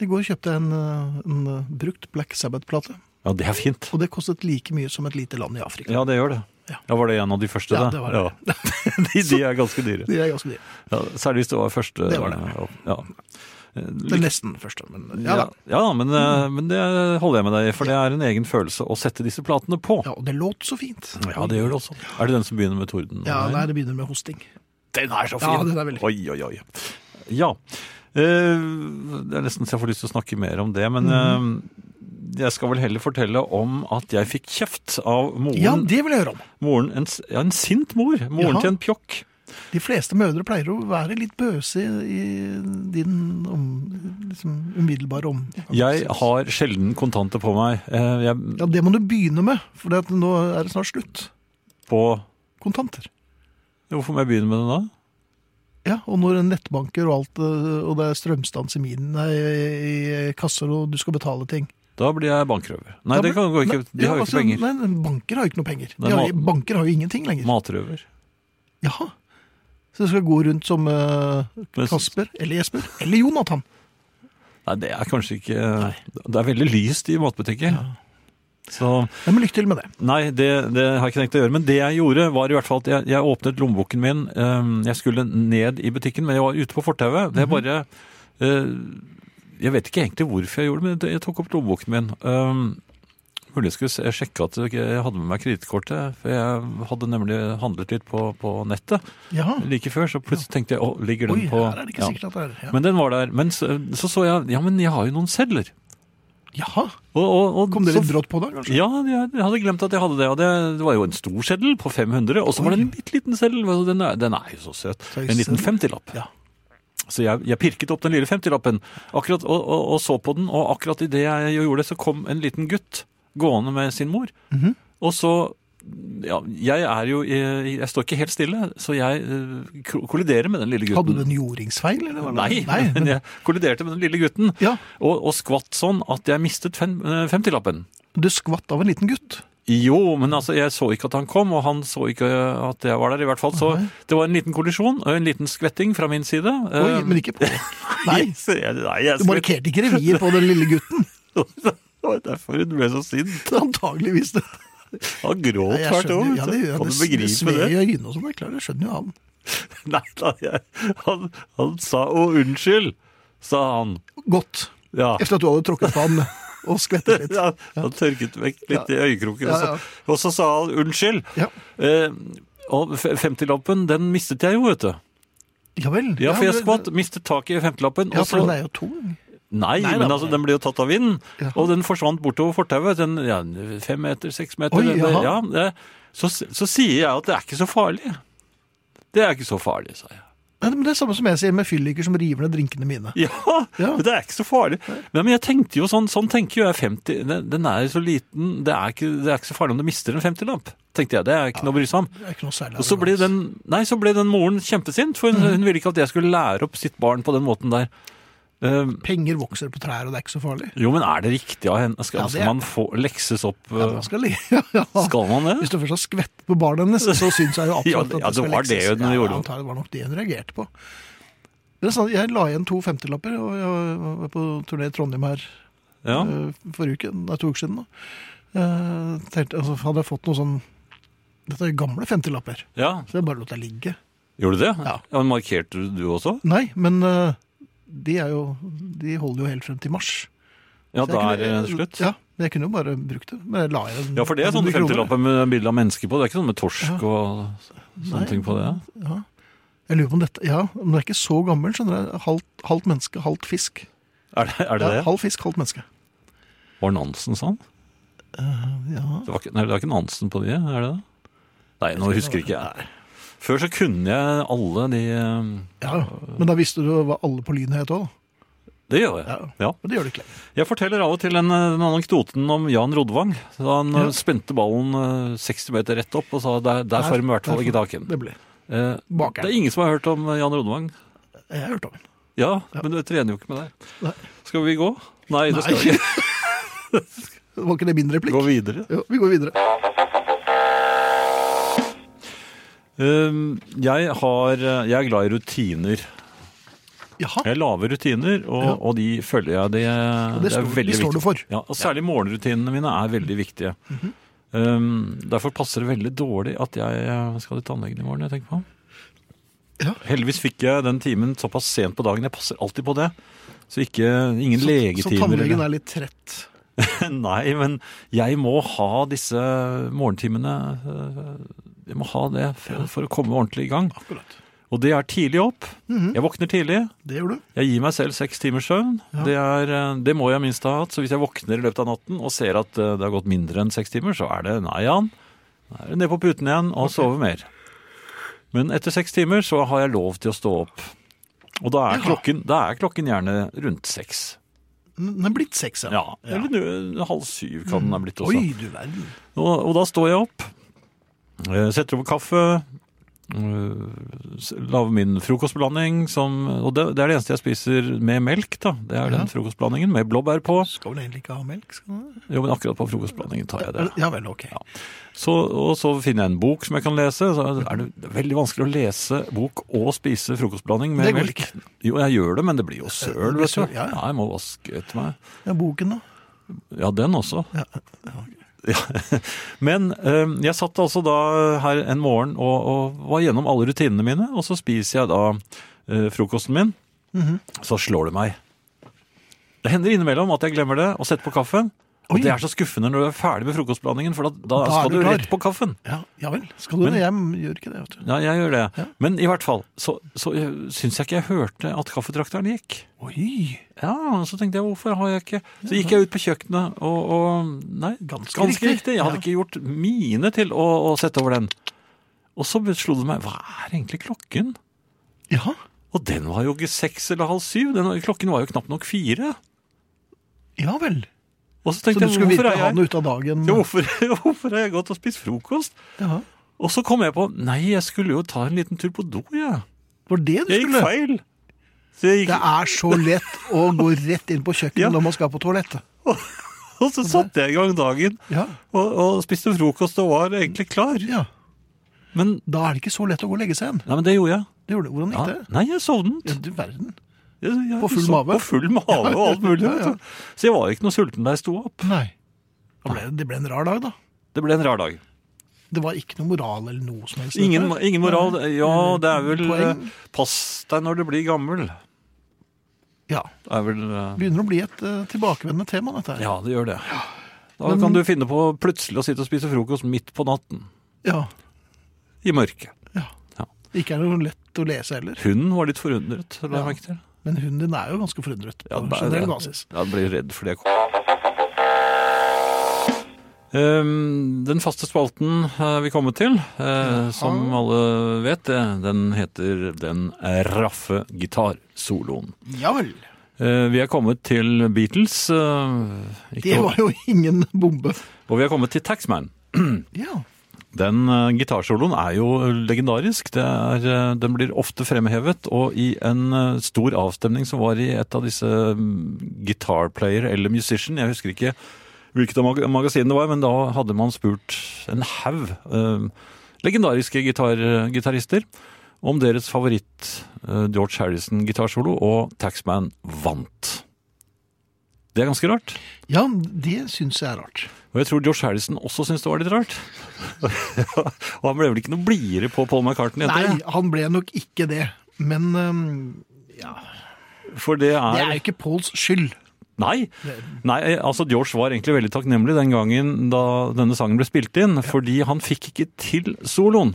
Speaker 2: I går kjøpte jeg en, eh, en eh, brukt Black Sabbath-plate.
Speaker 3: ja, det er fint.
Speaker 2: Og det kostet like mye som et lite land i Afrika.
Speaker 3: Ja, det gjør det.
Speaker 2: Ja.
Speaker 3: Ja, Var det en av de første,
Speaker 2: Ja,
Speaker 3: da?
Speaker 2: det var det.
Speaker 3: Ja. de, de er ganske dyre.
Speaker 2: Det er ganske mye.
Speaker 3: Ja, særlig hvis det var første.
Speaker 2: Det var det.
Speaker 3: Ja.
Speaker 2: Det er nesten første, men ja
Speaker 3: Ja,
Speaker 2: da. Mm.
Speaker 3: ja men, eh, men det holder jeg med deg i, for det er en egen følelse å sette disse platene på.
Speaker 2: Ja, og det låt så fint.
Speaker 3: Ja, det gjør det også. Er det den som begynner med torden?
Speaker 2: Ja, nei, det begynner med hosting.
Speaker 3: den er så
Speaker 2: fin. Ja, den er veldig fin.
Speaker 3: Oi, oi, oi. Ja. Eh, Det er nesten så jeg får lyst til å snakke mer om det, men
Speaker 2: Mm.
Speaker 3: eh, jeg skal vel heller fortelle om at jeg fikk kjeft av moren.
Speaker 2: Ja, det vil jeg høre om.
Speaker 3: moren en, s- ja, en sint mor. Moren
Speaker 2: Jaha.
Speaker 3: til en pjokk.
Speaker 2: De fleste mødre pleier å være litt bøse i, i din om, liksom, umiddelbare om...
Speaker 3: Jeg har sjelden kontanter på meg. Eh, Jeg
Speaker 2: Ja, det må du begynne med, for det at nå er det snart slutt.
Speaker 3: på
Speaker 2: Kontanter.
Speaker 3: Hvorfor må jeg begynne med det da?
Speaker 2: Ja, og når en nettbanker og alt, eh, og det er strømstans i minen nei, i i kasser, og du skal betale ting.
Speaker 3: Da blir jeg bankrøver. Nei,
Speaker 2: Da
Speaker 3: det
Speaker 2: blir-
Speaker 3: kan gå ikke.
Speaker 2: Nei,
Speaker 3: De
Speaker 2: ja,
Speaker 3: har jo
Speaker 2: altså,
Speaker 3: ikke penger.
Speaker 2: Nei, banker har jo ikke noe penger.
Speaker 3: Nei,
Speaker 2: De har,
Speaker 3: ma-
Speaker 2: banker har jo ingenting lenger.
Speaker 3: Matrøver.
Speaker 2: Jaha. Så du skal gå rundt som eh,
Speaker 3: Men-
Speaker 2: Kasper, eller Jesper, eller Jonathan.
Speaker 3: Nei, det er kanskje ikke Det er veldig lyst i matbutikker. Så
Speaker 2: Ja, men lykke til med det.
Speaker 3: Nei, det, det har jeg ikke tenkt å gjøre. Men det jeg gjorde, var i hvert fall at jeg, jeg åpnet lommeboken min. eh, Jeg skulle ned i butikken, men jeg var ute på fortauet.
Speaker 2: Mhm.
Speaker 3: Det er bare eh, Jeg vet ikke egentlig hvorfor jeg gjorde det, men det- jeg tok opp lommeboken min. Eh, Mulig jeg skulle se- sjekke at jeg ikke hadde med meg kredittkortet, for jeg hadde nemlig handlet litt på, på nettet
Speaker 2: Jaha.
Speaker 3: like før. Så plutselig tenkte jeg å, ligger den
Speaker 2: Oi,
Speaker 3: på
Speaker 2: her er det ikke
Speaker 3: ja.
Speaker 2: sikkert at det er ja.
Speaker 3: Men den var der. Men så, så så jeg Ja, men jeg har jo noen sedler.
Speaker 2: Jaha.
Speaker 3: Og, og, og
Speaker 2: Kom det
Speaker 3: så-
Speaker 2: litt brått på deg, kanskje?
Speaker 3: ja, jeg jeg hadde glemt at jeg hadde det. Og det, det var jo en stor seddel på 500, og så var det en bitte liten seddel. og Den er, den er jo så søt.
Speaker 2: Så
Speaker 3: En liten
Speaker 2: seddel.
Speaker 3: 50-lapp.
Speaker 2: Ja.
Speaker 3: Så jeg, jeg pirket opp den lille 50-lappen akkurat, og, og, og så på den, og akkurat idet jeg gjorde det, så kom en liten gutt gående med sin mor.
Speaker 2: Mhm.
Speaker 3: Og så ja, jeg er jo i- Jeg står ikke helt stille, så jeg eh, ko- kolliderer med den lille gutten.
Speaker 2: Hadde du en jordingsfeil, eller? hva?
Speaker 3: Nei, men
Speaker 2: Nei.
Speaker 3: jeg kolliderte med den lille gutten
Speaker 2: Ja,
Speaker 3: og, og skvatt sånn at jeg mistet fem- eh, 50-lappen.
Speaker 2: du skvatt av en liten gutt.
Speaker 3: Jo, men altså, jeg så ikke at han kom, og han så ikke eh, at jeg var der. i hvert fall. Så
Speaker 2: Nei.
Speaker 3: det var en liten kollisjon, og en liten skvetting fra min side.
Speaker 2: Oi,
Speaker 3: Eh,
Speaker 2: men ikke på. Nei,
Speaker 3: jeg- jeg- nei, jeg
Speaker 2: du markerte ikke revir på den lille gutten.
Speaker 3: skvett- Det var derfor hun ble så sint.
Speaker 2: Antageligvis det.
Speaker 3: Han gråt
Speaker 2: Nei, jeg
Speaker 3: hvert år.
Speaker 2: skjønner-
Speaker 3: vet
Speaker 2: ja,
Speaker 3: du.
Speaker 2: det gjør
Speaker 3: kan
Speaker 2: jeg.
Speaker 3: du
Speaker 2: Det- det
Speaker 3: begripe
Speaker 2: sved
Speaker 3: det?
Speaker 2: i øynene og sånn, det er klart, jeg skjønner jo han.
Speaker 3: Nei, da, jeg, han, han sa 'å, unnskyld', sa han.
Speaker 2: Godt.
Speaker 3: Ja.
Speaker 2: Etter at du hadde tråkket på han og skvettet litt.
Speaker 3: Ja, han tørket vekk litt i øyekroken.
Speaker 2: Ja,
Speaker 3: og så- Og så sa han 'unnskyld'.
Speaker 2: Ja,
Speaker 3: Eh, og f- 50-lappen, den mistet jeg jo, vet du.
Speaker 2: ja vel.
Speaker 3: Ja, for jeg
Speaker 2: men-
Speaker 3: skvatt, mistet taket i 50-lappen.
Speaker 2: Ja,
Speaker 3: og
Speaker 2: for
Speaker 3: så-
Speaker 2: den er jo tung.
Speaker 3: Nei,
Speaker 2: Nei,
Speaker 3: men
Speaker 2: da.
Speaker 3: altså, den ble jo tatt av vinden,
Speaker 2: Ja.
Speaker 3: og den forsvant bortover fortauet. Den, ja, fem meter, seks meter.
Speaker 2: Oi,
Speaker 3: den-
Speaker 2: jaha.
Speaker 3: ja, det- så, så sier jeg at det er ikke så farlig. Det er ikke så farlig, sa jeg.
Speaker 2: Nei, men det er samme som jeg sier med fylliker som river ned drinkene mine.
Speaker 3: Ja,
Speaker 2: Ja.
Speaker 3: men det er ikke så farlig. Nei, men jeg tenkte jo sånn, sånn tenker jo jeg 50, den, den er jo så liten, det er, ikke, det er ikke så farlig om du mister en 50-lamp. Tenkte jeg, det er ikke noe å bry seg om.
Speaker 2: Det er Mm. ikke noe særlig.
Speaker 3: Og så ble
Speaker 2: arrogans.
Speaker 3: den, nei, så ble den moren kjempesint, for hun, hun ville ikke at jeg skulle lære opp sitt barn på den måten der. Um,
Speaker 2: Penger vokser på trær, og det er ikke så farlig.
Speaker 3: Jo, men er det riktig av henne? Skal,
Speaker 2: Ja, det er-
Speaker 3: skal man få lekses opp?
Speaker 2: Ja,
Speaker 3: eh,
Speaker 2: men skal, ligge- ja, ja.
Speaker 3: Skal man det?
Speaker 2: Hvis du først har skvettet på barnet hennes, så syns jeg jo absolutt
Speaker 3: Ja,
Speaker 2: at det
Speaker 3: ja, det
Speaker 2: skal
Speaker 3: var det
Speaker 2: lekses.
Speaker 3: hun
Speaker 2: Ja,
Speaker 3: gjorde.
Speaker 2: jeg antar det var nok det hun reagerte på. Det er sånn, jeg la igjen to 50-lapper, og jeg var på turné i Trondheim her
Speaker 3: Ja.
Speaker 2: eh, forrige uke, nei, to uker siden. Da. Eh, tenkte, altså, hadde jeg fått noe sånn Dette er gamle 50-lapper,
Speaker 3: ja.
Speaker 2: så jeg bare lot det ligge.
Speaker 3: Gjorde du det?
Speaker 2: Ja.
Speaker 3: men markerte du- du også?
Speaker 2: Nei, men eh, de, er jo, de holder jo helt frem til mars.
Speaker 3: Ja,
Speaker 2: Så jeg
Speaker 3: da er det
Speaker 2: kunne-
Speaker 3: slutt.
Speaker 2: Ja, men jeg kunne jo bare brukt det. Men jeg la igjen
Speaker 3: Ja, for det er sånn sånne
Speaker 2: 100 kroner.
Speaker 3: 50-lapper med bilde av mennesker på. Det er ikke sånn med torsk
Speaker 2: Ja.
Speaker 3: og sånne
Speaker 2: Nei.
Speaker 3: ting på det.
Speaker 2: Ja. Jeg lurer på om dette Ja, men det er ikke så gammel, skjønner jeg. Halvt, halvt menneske, halvt fisk.
Speaker 3: Er det er det?
Speaker 2: ja,
Speaker 3: det?
Speaker 2: Halv fisk, halvt menneske.
Speaker 3: Var Nansen sånn?
Speaker 2: Ja.
Speaker 3: Det var ikke, nei, det er ikke Nansen på de, er det det? Nei, nå husker ikke jeg. Før så kunne jeg alle de eh,
Speaker 2: ja. Men da visste du hva alle på Lyn het òg, da.
Speaker 3: Det gjør jeg.
Speaker 2: Ja.
Speaker 3: Ja.
Speaker 2: Men det gjør du ikke lenger.
Speaker 3: Jeg forteller av og til den, eh, den anekdoten om Jan Rodvang. Da han eh, spente ballen eh, 60 meter rett opp og sa der, der får de i hvert fall
Speaker 2: Der-
Speaker 3: ikke tak i den.
Speaker 2: Det ble.
Speaker 3: Eh,
Speaker 2: Bakeren.
Speaker 3: Det er ingen som har hørt om eh, Jan Rodvang.
Speaker 2: Jeg har hørt om den.
Speaker 3: Ja, men du trener jo ikke med deg.
Speaker 2: Nei.
Speaker 3: Skal vi gå? Nei, det skal vi ikke.
Speaker 2: Var ikke det min replikk?
Speaker 3: Gå videre.
Speaker 2: Jo, vi går videre.
Speaker 3: Um, jeg, har, eh, jeg er glad i rutiner.
Speaker 2: Jaha.
Speaker 3: Jeg lager rutiner, og,
Speaker 2: Ja.
Speaker 3: og de følger jeg. Det,
Speaker 2: det står- de står du for. Mhm.
Speaker 3: Ja, og særlig morgenrutinene mine er veldig viktige. um, derfor passer det veldig dårlig at jeg eh, skal til tannlegen i morgen. jeg tenker på.
Speaker 2: Ja.
Speaker 3: Heldigvis fikk jeg den timen såpass sent på dagen. Jeg passer alltid på det. Så ikke, ingen
Speaker 2: Så
Speaker 3: legetimer.
Speaker 2: tannlegen
Speaker 3: eller-
Speaker 2: er litt trett.
Speaker 3: Nei, men jeg må ha disse morgentimene øh, Jeg må ha det for, for å komme ordentlig i gang.
Speaker 2: Akkurat. Mhm.
Speaker 3: Og det er tidlig opp. Jeg våkner tidlig.
Speaker 2: Det gjør du.
Speaker 3: Jeg gir meg selv seks timers søvn. Det, er, øh, det må jeg minst ha hatt. Så hvis jeg våkner i løpet av natten og ser at øh, det har gått mindre enn seks timer, så er det nei, Jan. Da er det ned på puten igjen og sove mer. Men etter seks timer så har jeg lov til å stå opp. Og da er klokken, da er klokken gjerne rundt seks.
Speaker 2: Den er blitt seks, ja.
Speaker 3: Ja, Eller nu- halv syv kan den ha blitt også.
Speaker 2: Oi, du verden.
Speaker 3: Og, og da står jeg opp, eh, setter over kaffe, eh, s- lager min frokostblanding. Som, og det, det er det eneste jeg spiser med melk. da. Det er den frokostblandingen med blåbær på.
Speaker 2: Skal vel egentlig ikke ha melk? skal den?
Speaker 3: Jo, men akkurat på frokostblandingen tar jeg det.
Speaker 2: Ja vel, ok.
Speaker 3: Så, og så finner jeg en bok som jeg kan lese. Så er det veldig vanskelig å lese bok og spise frokostblanding med
Speaker 2: Det går
Speaker 3: melk. Jo, jeg gjør det, men det blir jo
Speaker 2: Det
Speaker 3: søl,
Speaker 2: blir
Speaker 3: vet du.
Speaker 2: søl, ja, ja.
Speaker 3: jeg må vaske etter meg.
Speaker 2: Ja, boken, da?
Speaker 3: Ja, den også.
Speaker 2: Ja.
Speaker 3: Men eh, jeg satt altså da her en morgen og, og var gjennom alle rutinene mine, og så spiser jeg da eh, frokosten min.
Speaker 2: Mhm.
Speaker 3: Så slår det meg. Det hender innimellom at jeg glemmer det og setter på kaffen. Og
Speaker 2: Oi.
Speaker 3: det er så skuffende når du er ferdig med frokostblandingen, for da, da,
Speaker 2: Da er
Speaker 3: skal
Speaker 2: du
Speaker 3: du
Speaker 2: klar.
Speaker 3: rett på kaffen.
Speaker 2: Ja, ja vel. Skal du
Speaker 3: Men-
Speaker 2: det? Jeg gjør ikke det, vet du.
Speaker 3: Ja, jeg gjør det.
Speaker 2: Ja.
Speaker 3: Men i hvert fall, så, så eh, syns jeg ikke jeg hørte at kaffetrakteren gikk.
Speaker 2: Oi,
Speaker 3: Ja, Så tenkte jeg, hvorfor har jeg ikke Så gikk jeg ut på kjøkkenet, og, og Nei,
Speaker 2: Ganske
Speaker 3: ganske,
Speaker 2: riktig.
Speaker 3: riktig. Jeg hadde
Speaker 2: Ja.
Speaker 3: ikke gjort mine til å, å sette over den. Og så slo det meg, hva er egentlig klokken?
Speaker 2: ja.
Speaker 3: Og den var jo ikke seks eller halv syv. Den, var- klokken var jo knapt nok fire.
Speaker 2: Ja vel.
Speaker 3: Og så
Speaker 2: Så du
Speaker 3: tenkte jeg,
Speaker 2: skulle
Speaker 3: hvorfor
Speaker 2: virkelig
Speaker 3: er
Speaker 2: ha den
Speaker 3: jeg,
Speaker 2: ut av dagen?
Speaker 3: ja, hvorfor, hvorfor har jeg gått og spist frokost?
Speaker 2: Ja.
Speaker 3: Og så kom jeg på, nei, jeg skulle jo ta en liten tur på do, jeg.
Speaker 2: Det var det du
Speaker 3: Jeg gikk
Speaker 2: skulle?
Speaker 3: feil. Så jeg gikk
Speaker 2: Det er så lett å gå rett inn på kjøkkenet
Speaker 3: Ja.
Speaker 2: når man skal på toalettet.
Speaker 3: Og så satte jeg i gang dagen
Speaker 2: Ja.
Speaker 3: og, og spiste frokost og var egentlig klar.
Speaker 2: ja.
Speaker 3: Men,
Speaker 2: Da er det ikke så lett å gå og legge seg igjen.
Speaker 3: nei, men det gjorde jeg.
Speaker 2: Det gjorde det. Hvordan
Speaker 3: Ja.
Speaker 2: gikk det?
Speaker 3: Nei, jeg sovnet.
Speaker 2: Ja, du verden.
Speaker 3: Jeg, jeg,
Speaker 2: På full
Speaker 3: sov-
Speaker 2: mage?
Speaker 3: På full mage og alt mulig.
Speaker 2: Ja, ja.
Speaker 3: vet du. Så jeg var ikke noe sulten da jeg sto opp.
Speaker 2: Nei. Det ble, det ble en rar dag, da.
Speaker 3: Det ble en rar dag.
Speaker 2: Det var ikke noe moral eller noe som helst.
Speaker 3: Ingen, ingen moral. Ja, det er vel
Speaker 2: Poeng.
Speaker 3: eh, Pass deg når du blir gammel.
Speaker 2: Ja.
Speaker 3: Det er vel eh,
Speaker 2: Begynner å bli et eh, tilbakevendende tema, dette her.
Speaker 3: Ja, det gjør det. Da kan du finne på plutselig å sitte og spise frokost midt på natten.
Speaker 2: Ja.
Speaker 3: I mørket.
Speaker 2: Ikke er det noe lett å lese heller.
Speaker 3: Hunden var litt forundret, la jeg merke til.
Speaker 2: Men hunden din er jo ganske forundret på
Speaker 3: Ja, det er
Speaker 2: generell
Speaker 3: det.
Speaker 2: basis.
Speaker 3: Jeg ble redd fordi jeg kom. Ehm, Den faste spalten er vi kommet til, eh, som alle vet, eh, den heter Den raffe gitarsoloen.
Speaker 2: Ja vel.
Speaker 3: Eh, Vi er kommet til Beatles, eh,
Speaker 2: Det
Speaker 3: ikke,
Speaker 2: var jo ingen bombe.
Speaker 3: og vi er kommet til Taxman.
Speaker 2: Ja.
Speaker 3: Den eh, gitarsoloen er jo legendarisk. Det er, eh, den blir ofte fremhevet, og i en eh, stor avstemning som var i et av disse mm, Guitar Player eller Musician, jeg husker ikke hvilket av mag- magasinene det var, men da hadde man spurt en haug eh, legendariske gitar gitarister om deres favoritt eh, George Harrison-gitarsolo, og Taxman vant. Det er ganske rart.
Speaker 2: ja, det syns jeg er rart.
Speaker 3: Og jeg tror George Harrison også syntes det var litt rart. og han ble vel ikke noe blidere på Paul McCartney etter
Speaker 2: Nei, han ble nok ikke det. Men øhm, ja.
Speaker 3: det? For det
Speaker 2: det
Speaker 3: er
Speaker 2: er jo ikke Pauls skyld.
Speaker 3: Nei. Nei, altså George var egentlig veldig takknemlig den gangen da denne sangen ble spilt inn, fordi han fikk ikke til soloen.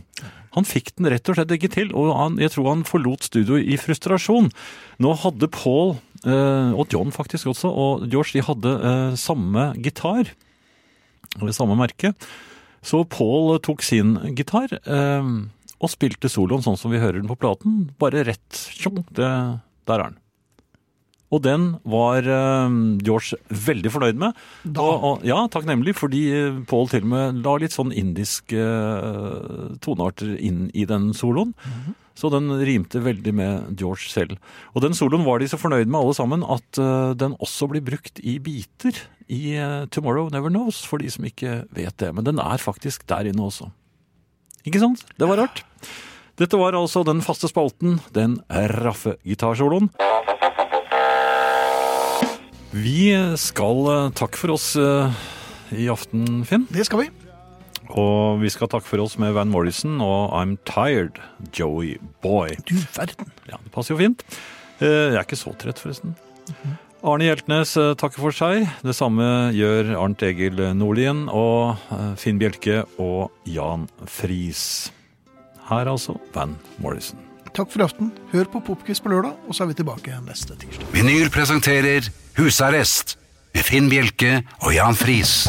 Speaker 3: Han fikk den rett og slett ikke til, og han, jeg tror han forlot studio i frustrasjon. Nå hadde Paul, eh, og John faktisk også, og George, de hadde eh, samme gitar, eller samme merke. Så Paul tok sin gitar, eh, og spilte soloen sånn som vi hører den på platen, bare rett. Tjong, det, der er den. Og den var eh, George veldig fornøyd med.
Speaker 2: Da.
Speaker 3: Og, og, ja, takknemlig, fordi eh, Paul til og med la litt sånn indiske eh, tonearter inn i den soloen. Så den rimte veldig med George selv. Og den soloen var de så fornøyd med alle sammen at eh, den også blir brukt i biter i eh, Tomorrow Never Knows, for de som ikke vet det. Men den er faktisk der inne også. Ikke sant? Det var rart. Dette var altså den faste spalten, den raffe gitarsoloen. Vi skal eh, takke for oss eh, i aften, Finn.
Speaker 2: Det skal vi.
Speaker 3: Og vi skal takke for oss med Van Morrison og I'm Tired, Joey Boy.
Speaker 2: Du verden.
Speaker 3: Ja, det passer jo fint. Eh, Jeg er ikke så trett, forresten.
Speaker 2: Mhm.
Speaker 3: Arne Hjeltnes eh, takker for seg. Det samme gjør Arnt Egil Nordlien og eh, Finn Bjelke og Jan Friis. Her altså Van Morrison.
Speaker 2: Takk for i aften. Hør på Popquiz på lørdag, og så er vi tilbake neste tirsdag.
Speaker 1: Vinyl presenterer Husarrest med Finn Bjelke og Jan Friis.